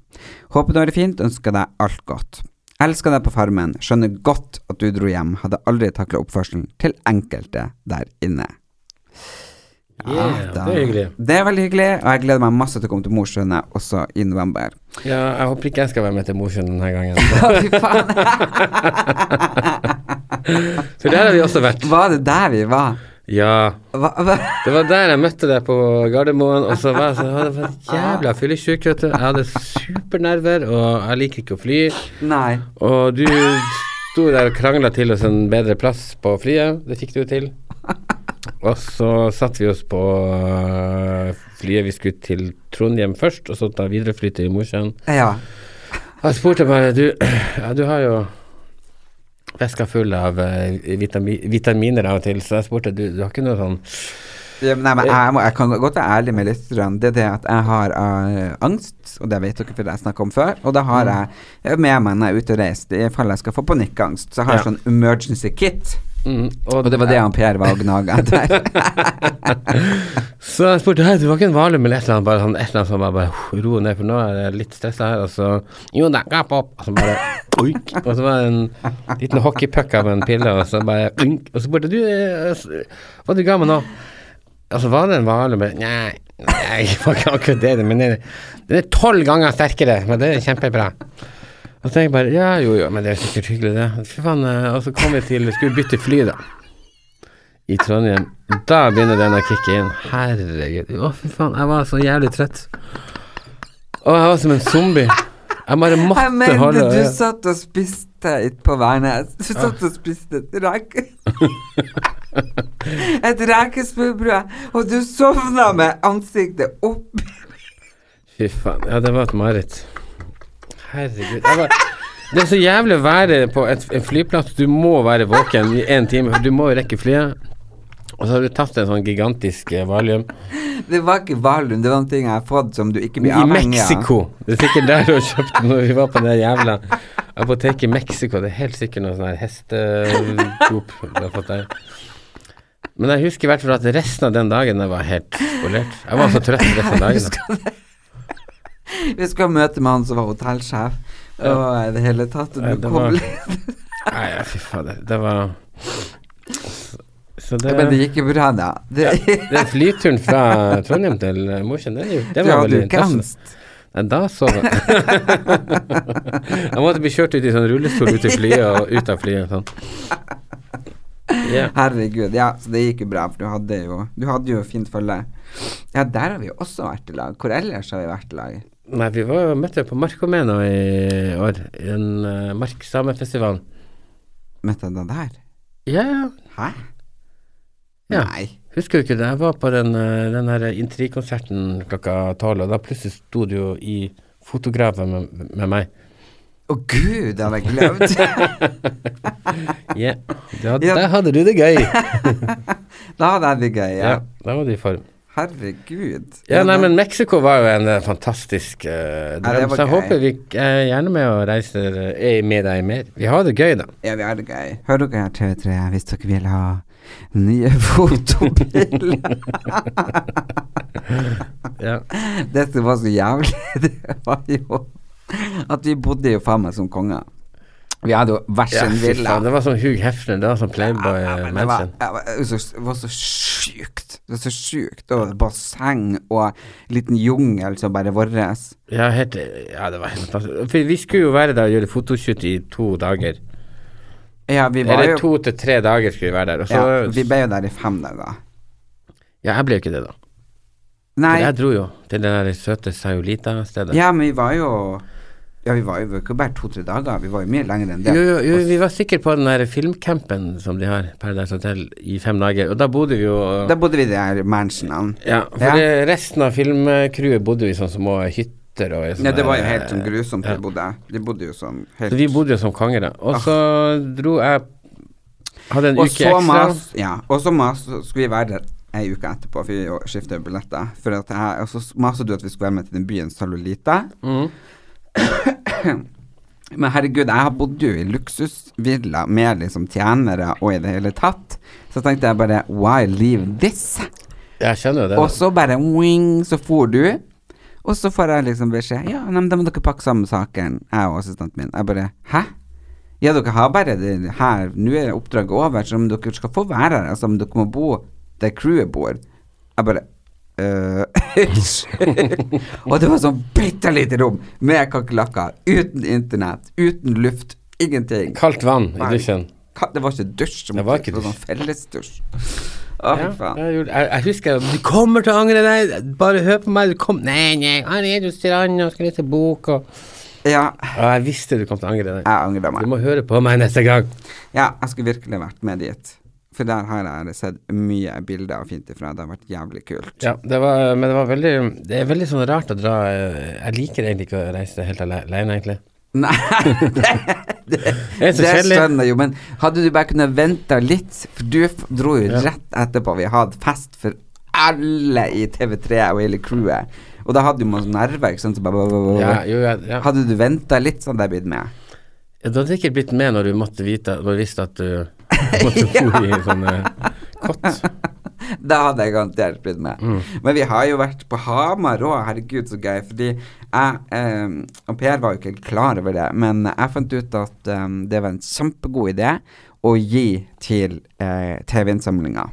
S1: Håper du har det fint, ønsker deg alt godt. Elsker deg på farmen, skjønner godt at du dro hjem, hadde aldri takla oppførselen til enkelte der inne. Ah,
S2: Yeah,
S1: da-
S2: det er hyggelig.
S1: Det er veldig hyggelig, og jeg gleder meg masse til å komme til Mosjøen jeg, også i november.
S2: Ja, jeg håper ikke jeg skal være med til Mosjøen denne
S1: <laughs>
S2: gangen.
S1: Fy faen,
S2: <laughs> For der har vi også
S1: <laughs>
S2: vært.
S1: var det der vi var?
S2: Ja.
S1: Hva, hva?
S2: Det var der jeg møtte deg på Gardermoen, og så var jeg sånn Jeg var jævla fyllesyk, vet du. Jeg hadde supernerver, og jeg liker ikke å fly.
S1: Nei.
S2: Og du sto der og krangla til oss en bedre plass på flyet. Det fikk du jo til. Og så satte vi oss på øh, flyet vi skulle til Trondheim først, og så ta viderefly til Mosjøen.
S1: Ja.
S2: Jeg spurte bare Du, ja, du har jo veska full av eh, vitami vitaminer av og til, så jeg spurte du, du har ikke noe sånn
S1: Ja, men Nei, men jeg, må, jeg kan godt være ærlig med lytterne. Det er det at jeg har eh, angst, og det vet dere fordi jeg snakket om før. Og da har
S2: Mm.
S1: jeg med meg når jeg er ute og reiser, i fall jeg skal få panikkangst. Så jeg har
S2: Ja.
S1: sånn emergency kit.
S2: mm,
S1: Og det var det han Per var og
S2: <laughs>
S1: gnaga etter.
S2: Så jeg spurte hei, det var ikke en valium eller et eller annet, bare sånn, et eller annet som bare, bare ro ned, for nå er jeg litt stressa her, og så Jo da, gap opp! Og så bare oink. Og så var det en liten hockeypuck av en pille, og så bare oink. Og så spurte du eh, s- hva du ga meg nå. Altså, var det en valium? eller- Nei, nei, <laughs> det var ikke akkurat det, men den den er tolv ganger sterkere, men det er kjempebra. Og så tenker jeg bare ja, jo, jo, men det er sikkert hyggelig, det. Fy faen. eh, Og så kom vi til Skulle bytte fly, da i Trondheim. Da begynner den å kicke inn. Herregud. Å, fy faen. Jeg var så jævlig trøtt. Å, jeg var som en zombie. Jeg bare måtte
S1: Jeg mente
S2: holde
S1: du
S2: øye.
S1: satt og spiste ut på Værnes. Du satt og spiste et rake... <laughs> Et rekesmørbrød, og du sovna med ansiktet opp
S2: Fy faen. Ja, det var et mareritt. Herregud. Jeg var det er så jævlig å være på et, en flyplass. Du må være våken i én time, for du må jo rekke flyet. Og så har du tatt en sånn gigantisk eh, valium.
S1: Det var ikke Valund, det var en ting jeg har fått som du ikke blir
S2: I
S1: avhengig av.
S2: Mexico. Det er sikkert der du har kjøpt det når vi var på det jævla apoteket i Mexico. Det er helt sikkert noe sånn her hestedop du har fått der. Men jeg husker i hvert fall at resten av den dagen jeg var helt spolert. Jeg var så trøtt resten av dagen.
S1: Vi skal møte med han som var hotellsjef, og i det hele tatt og
S2: Ja,
S1: du
S2: det
S1: kom
S2: var-
S1: litt-
S2: Nei, ja, fy fader. Det var Så det,
S1: Men <laughs> det gikk jo bra, da. Det,
S2: den flyturen fra Trondheim til Mosjøen, den, er jo- den
S1: du hadde
S2: var
S1: jo
S2: veldig
S1: ikke angst.
S2: Nei, da sov jeg. jeg måtte bli kjørt ut i sånn rullestol ut i flyet og ut av flyet. Sånn. Ja.
S1: Herregud. Ja, så det gikk jo bra, for du hadde jo, du hadde jo fint følge. Ja, der har vi jo også vært i lag. Hvor ellers har vi vært i lag?
S2: Nei, vi var, møtte på Markomena i år, i en uh, Marksamefestivalen.
S1: Møtte jeg deg der?
S2: Ja, ja.
S1: Hæ?
S2: Ja.
S1: Nei.
S2: Husker du ikke det? Jeg var på den, eh, den her Intri-konserten klokka tolv, og da plutselig sto du jo i fotografen med, med meg.
S1: Å gud, det hadde jeg glemt.
S2: <laughs> Ja, da,
S1: Ja.
S2: der hadde du det gøy.
S1: da hadde jeg det gøy. Ja.
S2: Ja, da var du i form.
S1: Herregud.
S2: Ja, nei,
S1: da-
S2: men Mexico var jo en eh, fantastisk eh, drøm,
S1: det var
S2: så jeg
S1: gøy.
S2: håper vi er gjerne med å reise eh, med deg mer. Vi har det gøy, da.
S1: Ja, vi har det gøy. Hør dere her, TV3, hvis dere vil ha nye <laughs> fotobilder.
S2: Ja.
S1: Dette var så jævlig. <laughs> Det var jo At vi bodde jo faen meg som konger. Vi hadde jo hver
S2: Ja,
S1: sin
S2: fy
S1: villa.
S2: faen, det var som Hugh Hefner, det var som Playboy
S1: Ja,
S2: eh,
S1: men det var,
S2: Mansion.
S1: ja, men det var så- det var så sjukt. Det var så sjukt. Og basseng og liten jungel som bare vår.
S2: Ja, helt, ja, det var helt fantastisk. For vi skulle jo være der og gjøre fotoshoot i to dager.
S1: Ja, vi var
S2: Eller
S1: jo
S2: to til tre dager skulle vi være der. Og så,
S1: ja, Vi
S2: ja,
S1: ble jo der i fem dager.
S2: jeg ble jo ikke det, da.
S1: Nei,
S2: Jeg dro jo til det der søte Sayolita-stedet.
S1: ja, men vi var jo Ja, vi var jo vi var ikke bare to-tre dager, vi var jo mye lenger enn det.
S2: Jo, jo, jo, vi var sikkert på den der filmcampen som de har, Paradise Hotel, i fem dager. Og da bodde vi jo
S1: Da bodde vi i de her mansionene.
S2: Ja, for
S1: Ja.
S2: det- resten av filmcrewet bodde jo i sånne små hytter og i sånne
S1: Ja, det var jo
S2: der,
S1: helt sånn grusomt
S2: ja.
S1: de bodde. De bodde jo sånn
S2: Så
S1: helt
S2: vi bodde jo som konger, da. Og så dro jeg Hadde en
S1: Og
S2: uke
S1: så
S2: ekstra.
S1: mas, ja, og så mas, så skulle vi være der ei uke etterpå, for vi jo skiftet jo billetter. For at jeg, og så maste du at vi skulle være med til den byen Salolita.
S2: Mm.
S1: Men herregud, jeg har bodd jo i luksusvilla med liksom tjenere og i det hele tatt. Så tenkte jeg bare why leave this?
S2: Jeg skjønner jo det.
S1: Og så bare wing, så for du. Og så får jeg liksom beskjed Ja, nei, men da må dere pakke sammen saken, jeg og assistenten min. Jeg bare Hæ? Ja, dere har bare det her. Nå er oppdraget over, så om dere skal få være her, altså om dere må bo der crewet bor. Jeg bare «Øh, <laughs> Unnskyld. og det var sånn bitte lite rom med kakerlakker, uten internett, uten luft, ingenting.
S2: Kaldt vann i dusjen.
S1: Ka- Det var ikke dusj.
S2: Det var ikke
S1: Det var sånn fellesdusj. Å,
S2: Ja,
S1: fy faen.
S2: jeg, gjorde- jeg, jeg husker jeg- Du kommer til å angre deg! Bare hør på meg! Du kom Nei, nei, han er jo stranda og skal lese bok og
S1: Ja,
S2: Ja, jeg visste du kom til å angre deg.
S1: jeg angrer meg.
S2: Du må høre på meg neste gang.
S1: Ja, jeg skulle virkelig vært med dit. For der har jeg sett mye bilder og fint ifra. Det har vært jævlig kult. <laughs>
S2: Ja, det var, men det var veldig Det er veldig sånn rart å dra eh, Jeg liker egentlig ikke å reise helt ale- alene, egentlig.
S1: Nei, det, det,
S2: Det er så
S1: det
S2: kjedelig.
S1: skjønner jeg jo, men hadde du bare kunnet vente litt For du f- dro jo rett etterpå. Vi hadde fest for alle i TV3 og hele crewet. Og da hadde du masse nerver, ikke sant. Så bare,
S2: Ja, jo, ja, ja.
S1: Hadde du venta litt, så hadde jeg blitt med.
S2: Du hadde sikkert blitt med når du måtte vite Når du visste at du
S1: <laughs>
S2: måtte bo i en sånn eh, kott.
S1: Da hadde jeg garantert blitt med. Men vi har jo vært på Hamar òg, herregud så gøy. Fordi jeg eh, og Per var jo ikke helt klar over det, men jeg fant ut at eh, det var en kjempegod idé å gi til eh, TV-innsamlinga.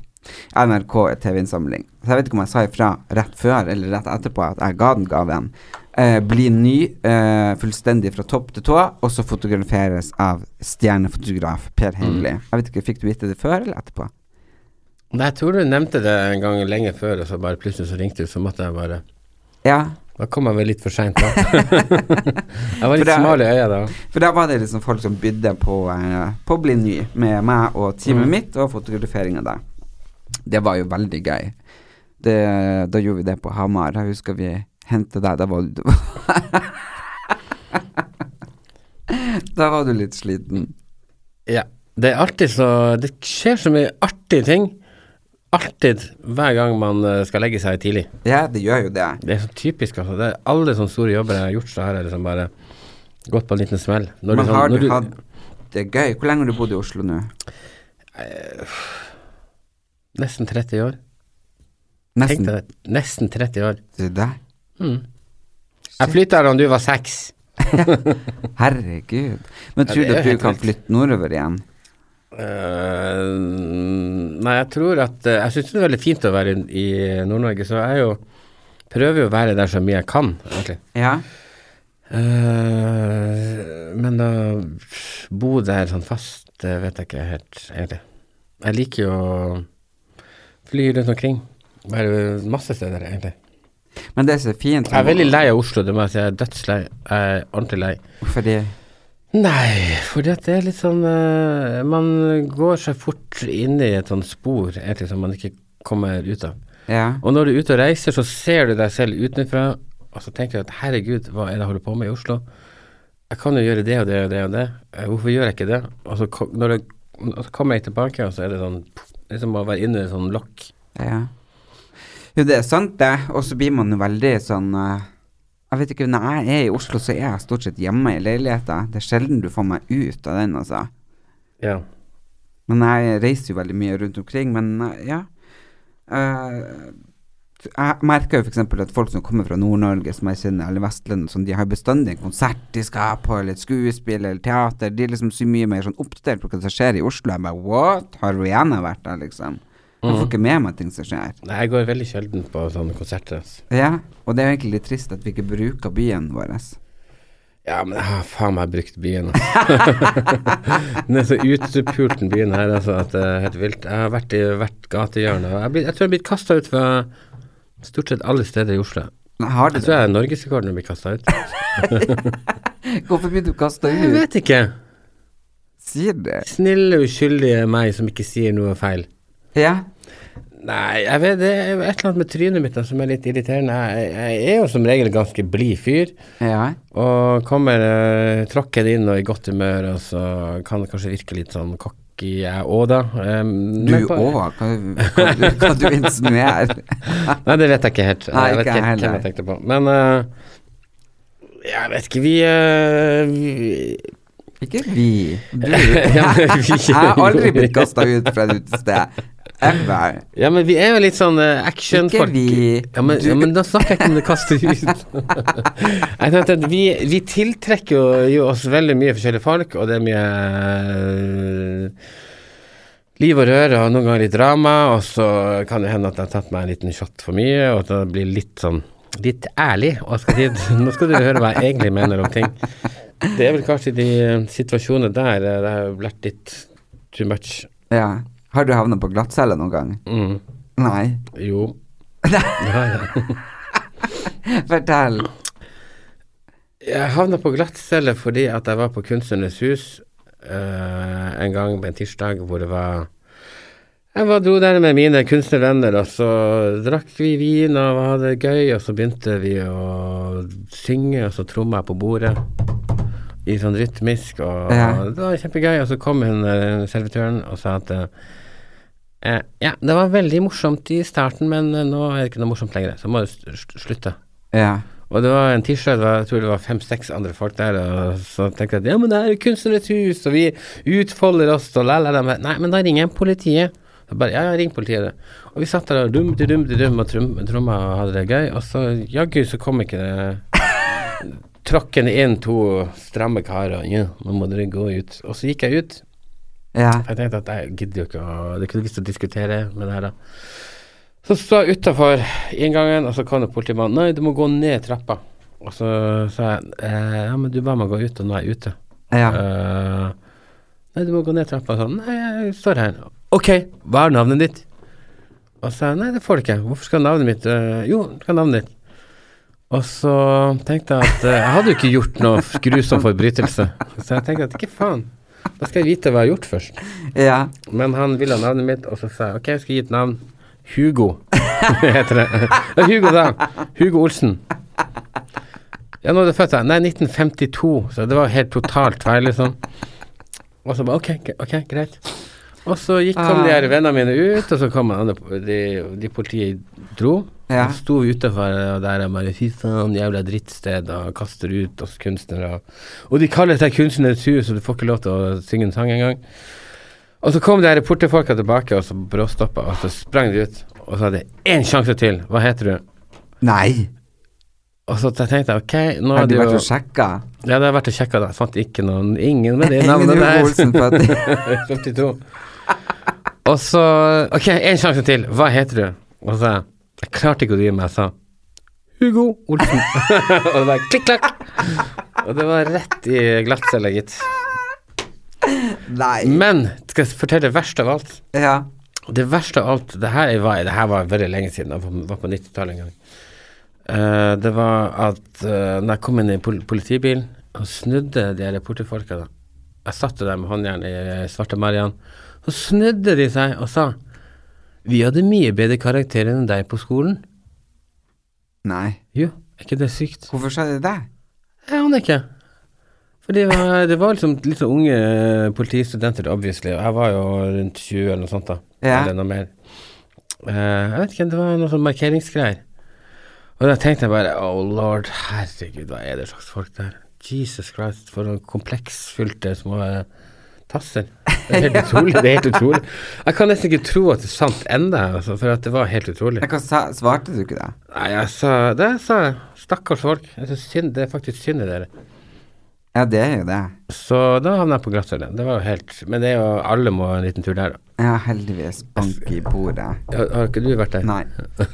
S1: NRK TV-innsamling. Så jeg vet ikke om jeg sa ifra rett før eller rett etterpå at jeg ga den gaven. Eh, bli ny eh, fullstendig fra topp til tå, og så fotograferes av stjernefotograf Per Heimli. Jeg vet ikke, Fikk du vite det før eller etterpå?
S2: Nei, jeg tror du nevnte det en gang lenge før, og så bare plutselig så ringte du, så måtte jeg bare
S1: Ja,
S2: Da kom jeg vel litt for seint,
S1: <laughs>
S2: da. jeg var
S1: For
S2: litt
S1: det-
S2: smal i øya da.
S1: For da var det liksom folk som bydde på, eh, på å bli ny med meg og
S2: Mm.
S1: teamet mitt og fotografering av deg. Det var jo veldig gøy. Det, da gjorde vi det på Hamar. Jeg husker vi hentet deg. Da var du <laughs> Da var du litt sliten.
S2: Ja. Det er alltid så Det skjer så mye artige ting. Alltid. Hver gang man eh, skal legge seg tidlig.
S1: Ja, det gjør jo det.
S2: Det er så typisk, altså. Det er alle sånne store jobber jeg har gjort, så har jeg liksom bare gått på en liten smell. Når
S1: Men
S2: sånn-
S1: har
S2: når
S1: du hatt det gøy? Hvor lenge har du bodd i Oslo nå?
S2: Nesten 30 år. Tenk
S1: Nesten
S2: deg det. Nesten 30 år.
S1: til deg?
S2: Jeg flytta da du var seks.
S1: Herregud. Men tror
S2: det
S1: du
S2: er
S1: at du
S2: helt
S1: kan
S2: vilt.
S1: flytte nordover igjen?
S2: Eh, nei, jeg tror at eh, Jeg syns det er veldig fint å være i, i Nord-Norge, så jeg er jo Prøver jo å være der så mye jeg kan, egentlig.
S1: Ja.
S2: Eh, men da bo der sånn fast, det vet jeg ikke helt, egentlig. Jeg liker jo å fly rundt omkring. Være masse steder, egentlig.
S1: Men det er så fint.
S2: Jeg er veldig lei av Oslo, det må jeg si. Jeg er dødslei. Jeg er ordentlig lei.
S1: Fordi
S2: Nei, fordi at det er litt sånn eh, Man går seg fort inn i et sånt spor egentlig som man ikke kommer ut av.
S1: Ja.
S2: Og når du er ute og reiser, så ser du deg selv utenfra, og så tenker du at herregud, hva er det jeg holder på med i Oslo? Jeg kan jo gjøre det og det og det og det, Eh, hvorfor gjør jeg ikke det? Og så, ko- når jeg, og så kommer jeg tilbake, og så er det sånn pff, Det er som å være inne i et sånt lokk.
S1: Ja. Jo, det er sant, det. Og så blir man jo veldig sånn eh, Jeg vet ikke, når jeg er i Oslo, så er jeg stort sett hjemme i leiligheta. Det er sjelden du får meg ut av den, altså.
S2: Ja.
S1: Men jeg reiser jo veldig mye rundt omkring, men eh, ja. Eh, jeg merker jo f.eks. at folk som kommer fra Nord-Norge, som jeg kjenner, eller Vestlandet, sånn, de har bestandig en konsert de skal på, eller et skuespill, eller teater. De er liksom så mye mer sånn oppdatert på hva som skjer i Oslo. Jeg bare what? Har Rihanna vært der, liksom? Jeg får ikke med meg ting som skjer.
S2: Nei, jeg går veldig sjelden på sånne konserter. altså.
S1: Ja, og det er jo egentlig litt trist at vi ikke bruker byen vår.
S2: Ja, men jeg har faen meg brukt byen. altså. Den er så utpult, den byen her, altså, at det er helt vilt. Jeg har vært i hvert gatehjørne. og Jeg, blir- jeg tror jeg er blitt kasta ut fra stort sett alle steder i Oslo.
S1: Har du
S2: Jeg tror jeg er norgesrekorden å bli
S1: <laughs>
S2: kasta ut.
S1: Hvorfor blir du kasta
S2: Jeg
S1: ut?
S2: vet ikke.
S1: Sier det.
S2: Snille, uskyldige meg som ikke sier noe feil.
S1: Ja.
S2: Nei, jeg vet, det er et eller annet med trynet mitt da, som er litt irriterende. Jeg, jeg er jo som regel ganske blid fyr,
S1: ja.
S2: og kommer uh, tråkken inn og i godt humør, og så kan det kanskje virke litt sånn cocky, jeg òg, da. Em,
S1: Du
S2: men på-
S1: òg? Hva, hva, du- hva du insinuerer?
S2: Nei, det vet jeg ikke helt.
S1: Nei,
S2: jeg
S1: ikke jeg
S2: vet ikke helt hvem
S1: heller.
S2: jeg tenkte på. Men eh, jeg vet ikke, vi, eh,
S1: <laughs>
S2: vi <laughs>
S1: Ikke vi. Du.
S2: Ja, men vi-
S1: Jeg har aldri blitt kasta ut fra et utested. Ever.
S2: Ja, men vi er jo litt sånn eh, actionfolk.
S1: Ikke vi.
S2: Ja men,
S1: Du-
S2: ja, men da snakker jeg ikke om det
S1: <laughs>
S2: kaster ut. <laughs> jeg tenkte at vi, vi tiltrekker jo, jo oss veldig mye forskjellige folk, og det er mye eh, liv og røre, og noen ganger litt drama, og så kan det hende at jeg har tatt meg en liten shot for mye, og at det blir litt sånn litt ærlig. Og skal si, at <laughs> nå skal du høre hva jeg egentlig mener om ting. Det er vel kanskje de eh, situasjonene der eh, det har vært litt too much.
S1: Ja. Har du havna på glattcelle noen gang?
S2: Mm.
S1: Nei.
S2: Jo. Ja, ja.
S1: Fortell.
S2: Jeg havna på glattcelle fordi at jeg var på Kunstnernes hus eh, en gang på en tirsdag hvor det var Jeg var, dro der med mine kunstnervenner, og så drakk vi vin og hadde det gøy, og så begynte vi å synge, og så tromma jeg på bordet i sånn rytmisk, og
S1: Ja.
S2: det var kjempegøy, og så kom hun eh, servitøren og sa at eh, Eh, ja, det var veldig morsomt i starten, men eh, nå er det ikke noe morsomt lenger, så må du s- s- slutte.
S1: Ja.
S2: Og det var en tirsdag, det var- jeg tror det var fem-seks andre folk der, og så tenkte jeg at ja, men det her er kunstnernes hus, og vi utfolder oss, og la, la, la. Men Nei, men da ringer jeg politiet. Jeg bare, ja, ja, ring politiet, du. Og vi satt der og dum, di, dum, di, dum, og trum- tromma og hadde det gøy, og så jaggu så kom ikke det <laughs> Tråkken inn to stramme karer, og ja, nå må dere gå ut. Og så gikk jeg ut.
S1: Ja.
S2: Jeg tenkte at jeg gidder jo ikke å Det er ikke noe vits å diskutere med det her, da. Så sto jeg utafor inngangen, og så kom det politimannen. Nei, du må gå ned trappa. Og så sa jeg eh, ja, men du ba meg gå ut, og nå er jeg ute.
S1: Ja.
S2: Eh, nei, du må gå ned trappa. Sånn. Nei, jeg står her. Ok, hva er navnet ditt? Og så sa jeg nei, det får du ikke. Hvorfor skal navnet mitt eh, Jo, du skal ha navnet ditt. Og så tenkte jeg at eh, jeg hadde jo ikke gjort noe grusom forbrytelse. Så jeg tenkte at ikke faen, da skal jeg vite hva jeg har gjort først.
S1: ja.
S2: Men han ville ha navnet mitt, og så sa jeg ok, jeg skal gi et navn. Hugo <laughs> heter det. Ja, Hugo, da. Hugo Olsen. Ja, når du fødte deg? Nei, 1952. Så det var helt totalt feil, liksom. Og så bare ok, ok, ok, greit. Og så gikk, kom de her vennene mine ut, og så kom han andre, de, de politiet dro.
S1: Ja.
S2: Og så sto vi utenfor og der er bare fy faen, jævla drittsted, og kaster ut oss kunstnere. Og de kaller seg Kunstnernes hus, og du får ikke lov til å synge en sang engang. Og så kom de her portefolka tilbake, og så bråstoppa, og så sprang de ut. Og så hadde jeg én sjanse til. Hva heter du?
S1: Nei.
S2: Og så tenkte jeg ok, nå
S1: Har
S2: er
S1: du
S2: det
S1: vært
S2: jo
S1: og sjekka?
S2: Ja, det har jeg vært og sjekka, da. Fant ikke noen Ingen med det
S1: <laughs> Ingen
S2: navnet
S1: Hugo
S2: der.
S1: Olsen
S2: <laughs>
S1: født
S2: 52. Og så Ok, én sjanse til. Hva heter du? Og så sa jeg Jeg klarte ikke å dy meg. Jeg sa Hugo Olsen. <laughs> og det var klikk-klakk. Og det var rett i glattcella, gitt.
S1: Nei.
S2: Men skal jeg fortelle det verste av alt?
S1: Ja.
S2: Og Det verste av alt Det her var, det her var veldig lenge siden. Det var- var på 90-tallet en gang. Eh, det var at uh, når jeg kom inn i pol politibilen og snudde de her politifolka da. Jeg satt jo der med håndjern i eh, svarte Marian. Så snudde de seg og sa Vi hadde mye bedre karakterer enn deg på skolen.
S1: Nei.
S2: Jo, er ikke det sykt?
S1: Hvorfor sa de det?
S2: Jeg aner ikke. For det var, det var liksom litt sånn unge eh, politistudenter, obviously. Og jeg var jo rundt 20 eller noe sånt, da.
S1: Ja.
S2: Eller noe mer. Eh, jeg vet ikke, det var noe sånn markeringsgreier. Og da tenkte jeg bare Oh lord, herregud, hva er det slags folk der? Jesus Christ, for noen kompleksfylte små eh, tasser. Det er helt utrolig. det er helt utrolig. Jeg kan nesten ikke tro at det er sant ennå, altså, for at det var helt utrolig.
S1: Men Hva sa, svarte du ikke det?
S2: Nei, jeg sa Det sa jeg. Stakkars folk. Jeg synes synd, det er faktisk synd i dere.
S1: Ja, det er jo det.
S2: Så da havna jeg på glattcelle. Det var jo helt Men det er jo alle må en liten tur der, da.
S1: Ja, heldigvis bank i bordet.
S2: Har, har ikke du vært der?
S1: Nei.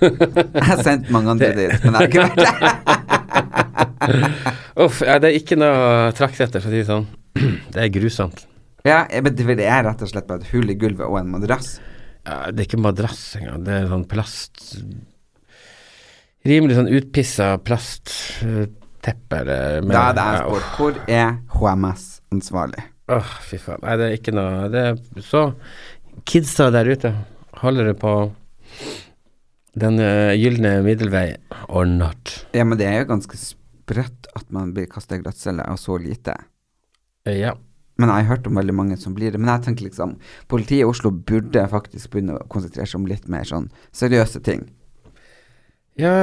S1: Jeg har sendt mange andre dit, men jeg har ikke vært der.
S2: Uff, ja, det er ikke noe å trakte etter, for å si det sånn. <clears throat> Det er grusomt.
S1: Ja, eh, men det er rett og slett bare et hull i gulvet og en madrass.
S2: Ja, det er ikke madrass engang, det er sånn plast Rimelig sånn utpissa eh, plastteppe eller
S1: Da er det jeg spør, hvor er HMS ansvarlig?
S2: Åh, fy faen. Nei, det er ikke noe det er, Så kidsa der ute, holder det på den eh, gylne middelvei or not?
S1: Ja, men det er jo ganske sprøtt at man blir kasta i glattcelle av så lite.
S2: Eh, Ja.
S1: Men jeg har hørt om veldig mange som blir det. Men jeg tenker liksom, politiet i Oslo burde faktisk begynne å konsentrere seg om litt mer sånn seriøse ting.
S2: Ja,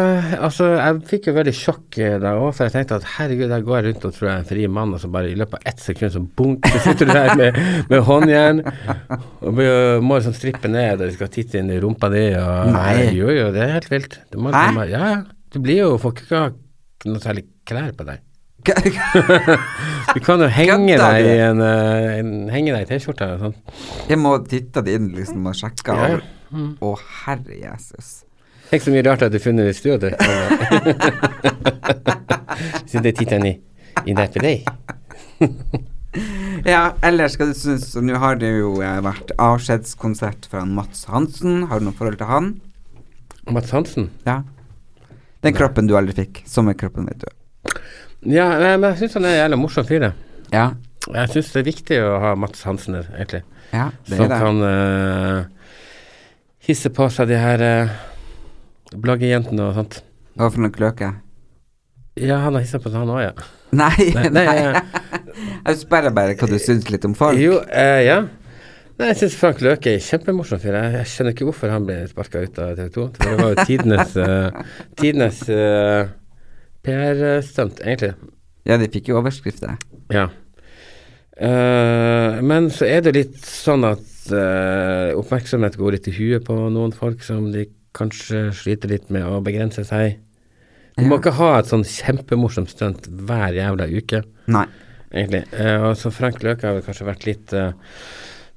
S2: altså, jeg fikk jo veldig sjokk eh, da òg, for jeg tenkte at herregud, der går jeg rundt og tror jeg er en fri mann, og så bare i løpet av ett sekund så bunk, så sitter du der med, med håndjern og blir- må liksom strippe ned, og de skal titte inn i rumpa di, og
S1: Nei.
S2: Jo, jo, det er helt vilt. Du må,
S1: Hæ?
S2: du må, ja, ja. Du blir jo Får ikke ha noe særlig klær på deg. Du kan
S1: <laughs>
S2: jo henge
S1: Kødder
S2: deg
S1: du?
S2: i en, eh, en henge deg i T-skjorta eller sånt.
S1: Jeg må titte det inn liksom og sjekke.
S2: Ja, ja.
S1: av. Å, herre jesus.
S2: Tenk så mye rart at du har funnet i stua
S1: <laughs>
S2: di. Så det titter han i. I det på deg.
S1: Ja, ellers skal du synes Nå har det jo eh, vært avskjedskonsert fra Mats Hansen. Har du noe forhold til han?
S2: Mats Hansen?
S1: Ja. Den kroppen du aldri fikk. Sommerkroppen, vet du.
S2: Ja, nei, men jeg syns han er en jævla morsom fyr, jeg.
S1: Ja.
S2: Jeg syns det er viktig å ha Mats Hansen der, egentlig.
S1: ja det
S2: Som
S1: er det.
S2: kan eh, hisse på seg de her eh, bloggejentene og sånt.
S1: Hva for noen kløke?
S2: Ja, han har hissa på seg, han
S1: <laughs>
S2: òg, ja.
S1: Nei,
S2: Nei,
S1: nei,
S2: nei, ja.
S1: <laughs> Jeg spør bare hva du syns litt om folk.
S2: Jo, eh, ja. Nei, jeg syns Frank Løke er en kjempemorsom fyr. Jeg, jeg skjønner ikke hvorfor han ble sparka ut av TV 2. Det var jo tidenes, eh, tidenes PR-stunt, egentlig.
S1: Ja, de fikk jo overskrifter.
S2: Ja. Eh, men så er det litt sånn at eh, oppmerksomhet går litt i huet på noen folk som de kanskje sliter litt med å begrense seg. Du må ikke ha et sånn kjempemorsomt stunt hver jævla uke.
S1: Nei.
S2: egentlig. Eh, og så Frank Løke har vel kanskje vært litt, eh,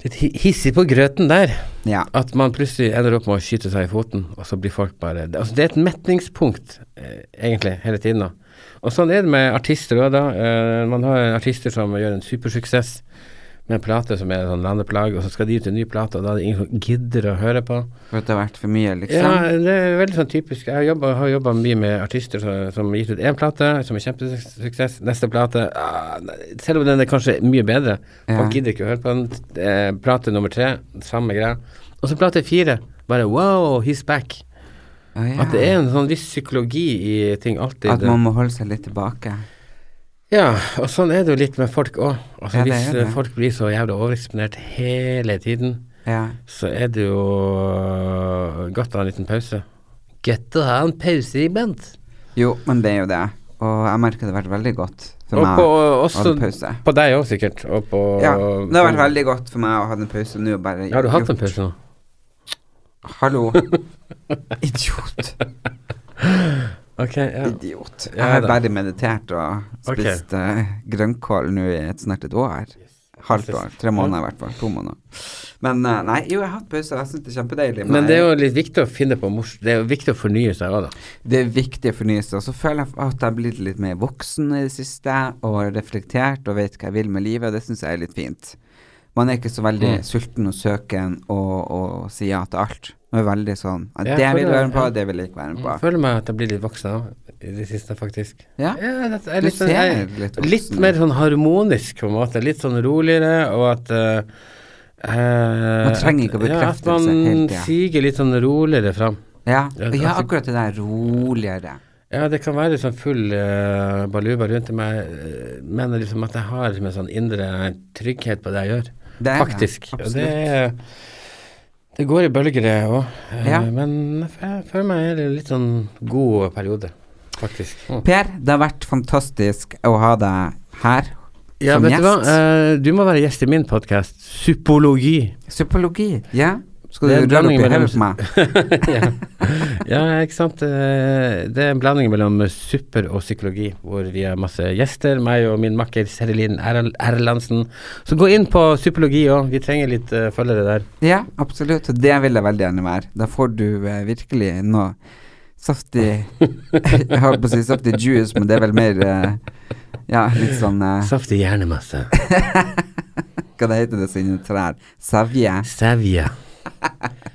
S2: litt hi- hissig på grøten der.
S1: Ja.
S2: At man plutselig ender opp med å skyte seg i foten, og så blir folk bare det- Altså, det er et metningspunkt, eh, egentlig, hele tiden. da. Og sånn er det med artister òg, da. Eh, man har artister som gjør en supersuksess med en plate som er en sånn landeplage, og så skal de ut i en ny plate, og da er det ingen som gidder å høre på.
S1: For at det har vært for mye, liksom.
S2: Ja, det er veldig sånn typisk. Jeg har jobbet- har jobba mye med artister som, som har gitt ut én plate, som er kjempesuksess. Neste plate ah, nei, Selv om den er kanskje mye bedre.
S1: Ja.
S2: Folk gidder ikke å høre på den. Eh, plate nummer tre, samme greia. Og så plate fire. Bare wow, he's back.
S1: Å, ja.
S2: At det er en sånn viss psykologi i ting alltid.
S1: At man må holde seg litt tilbake.
S2: Ja, og sånn er det jo litt med folk òg. Altså,
S1: Ja, det
S2: hvis
S1: er det.
S2: eh, folk blir så jævla overeksponert hele tiden,
S1: Ja.
S2: så er det jo øh, godt å ha en liten pause. Godt å ha en pause iblant.
S1: Jo, men det er jo det. Og jeg merker det har vært veldig godt for
S2: Og
S1: meg
S2: på,
S1: å ha
S2: også,
S1: en pause.
S2: på deg òg, sikkert. Og på
S1: Ja, det har vært veldig godt for meg å ha en pause nå og bare
S2: Har du hatt en
S1: gjort-
S2: pause nå?
S1: Hallo.
S2: <laughs>
S1: Idiot.
S2: Ok, ja.
S1: Idiot.
S2: Ja,
S1: Jeg har
S2: da.
S1: bare meditert og
S2: Ok.
S1: spist eh, grønnkål nå i et snart et år. Halvt år. Tre måneder i hvert fall. To måneder. Men eh, nei, jo, jeg har hatt pause, og jeg syns det er kjempedeilig.
S2: Men det er
S1: jeg-
S2: jo litt viktig å finne på mors... Det er jo viktig å fornye seg òg, da.
S1: det er viktig å fornye seg. Og så føler jeg at jeg har blitt litt mer voksen i det siste, og har reflektert og vet hva jeg vil med livet, og det syns jeg er litt fint. Man er ikke så veldig
S2: Mm.
S1: sulten og søken og, og sier ja til alt. Man er veldig sånn at
S2: Ja,
S1: Det
S2: jeg
S1: vil jeg
S2: føler-
S1: være med på,
S2: ja. Mm,
S1: det vil jeg ikke være med
S2: Jeg
S1: på.
S2: føler meg at jeg blir litt voksen òg i det siste, faktisk.
S1: Ja.
S2: det er
S1: Du
S2: litt, sånn- jeg,
S1: ser litt
S2: litt,
S1: voksen ut.
S2: mer sånn harmonisk, på en måte. Litt sånn roligere, og at eh, eh,
S1: Man trenger ikke å
S2: at- Ja,
S1: bekreftelse
S2: at
S1: hele
S2: man
S1: tiden.
S2: siger litt sånn roligere fram.
S1: Ja,
S2: Ja,
S1: og ja
S2: altså-
S1: akkurat det der roligere.
S2: Ja, det kan være sånn full eh, baluba rundt meg, eh, men liksom at jeg har liksom en sånn indre trygghet på det jeg gjør.
S1: Det er det,
S2: Faktisk. Og det,
S1: absolutt.
S2: er- det går i bølger, det òg.
S1: Ja.
S2: Men jeg f- jeg føler meg i en litt sånn god periode, faktisk. Mm.
S1: Per, det har vært fantastisk å ha deg her
S2: Ja,
S1: som
S2: vet du hva,
S1: gjest.
S2: Eh, du må være gjest i min podkast, Psykologi.
S1: Psykologi, ja? Skal
S2: Det
S1: du
S2: er en
S1: røre opp
S2: blanding
S1: i
S2: mellom
S1: hodet på meg?
S2: ja. <laughs> ja, ikke sant. Eh, Det er en blanding mellom supper og psykologi, hvor vi har masse gjester. Meg og min makker Serelin Erl- Erlandsen. Så gå inn på psykologi òg, vi trenger litt eh, følgere der.
S1: Ja, absolutt. og Det vil jeg veldig gjerne være. Da får du eh, virkelig noe Saftig Jeg holdt på å si saftig juice, men det er vel mer eh, Ja, litt sånn eh,
S2: Saftig hjernemasse.
S1: Hva det heter det som inni trær? Sevje?
S2: Sevje.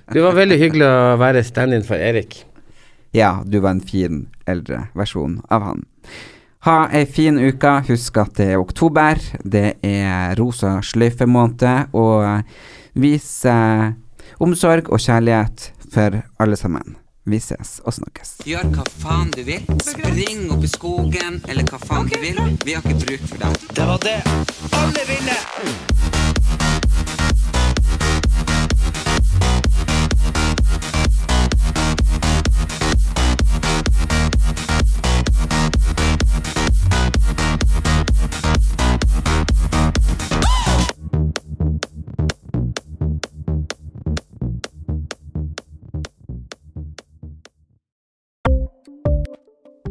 S2: Det var veldig hyggelig å være stand-in for Erik.
S1: Ja, du var en fin eldre versjon av han. Ha ei fin uke. Husk at det er oktober. Det er rosa sløyfe-måned. Og vis eh, omsorg og kjærlighet for alle sammen. Vi ses og snakkes.
S3: Gjør hva faen du vil. Spring opp i skogen, eller hva faen du vil. Vi har ikke bruk for deg. Det var det alle ville!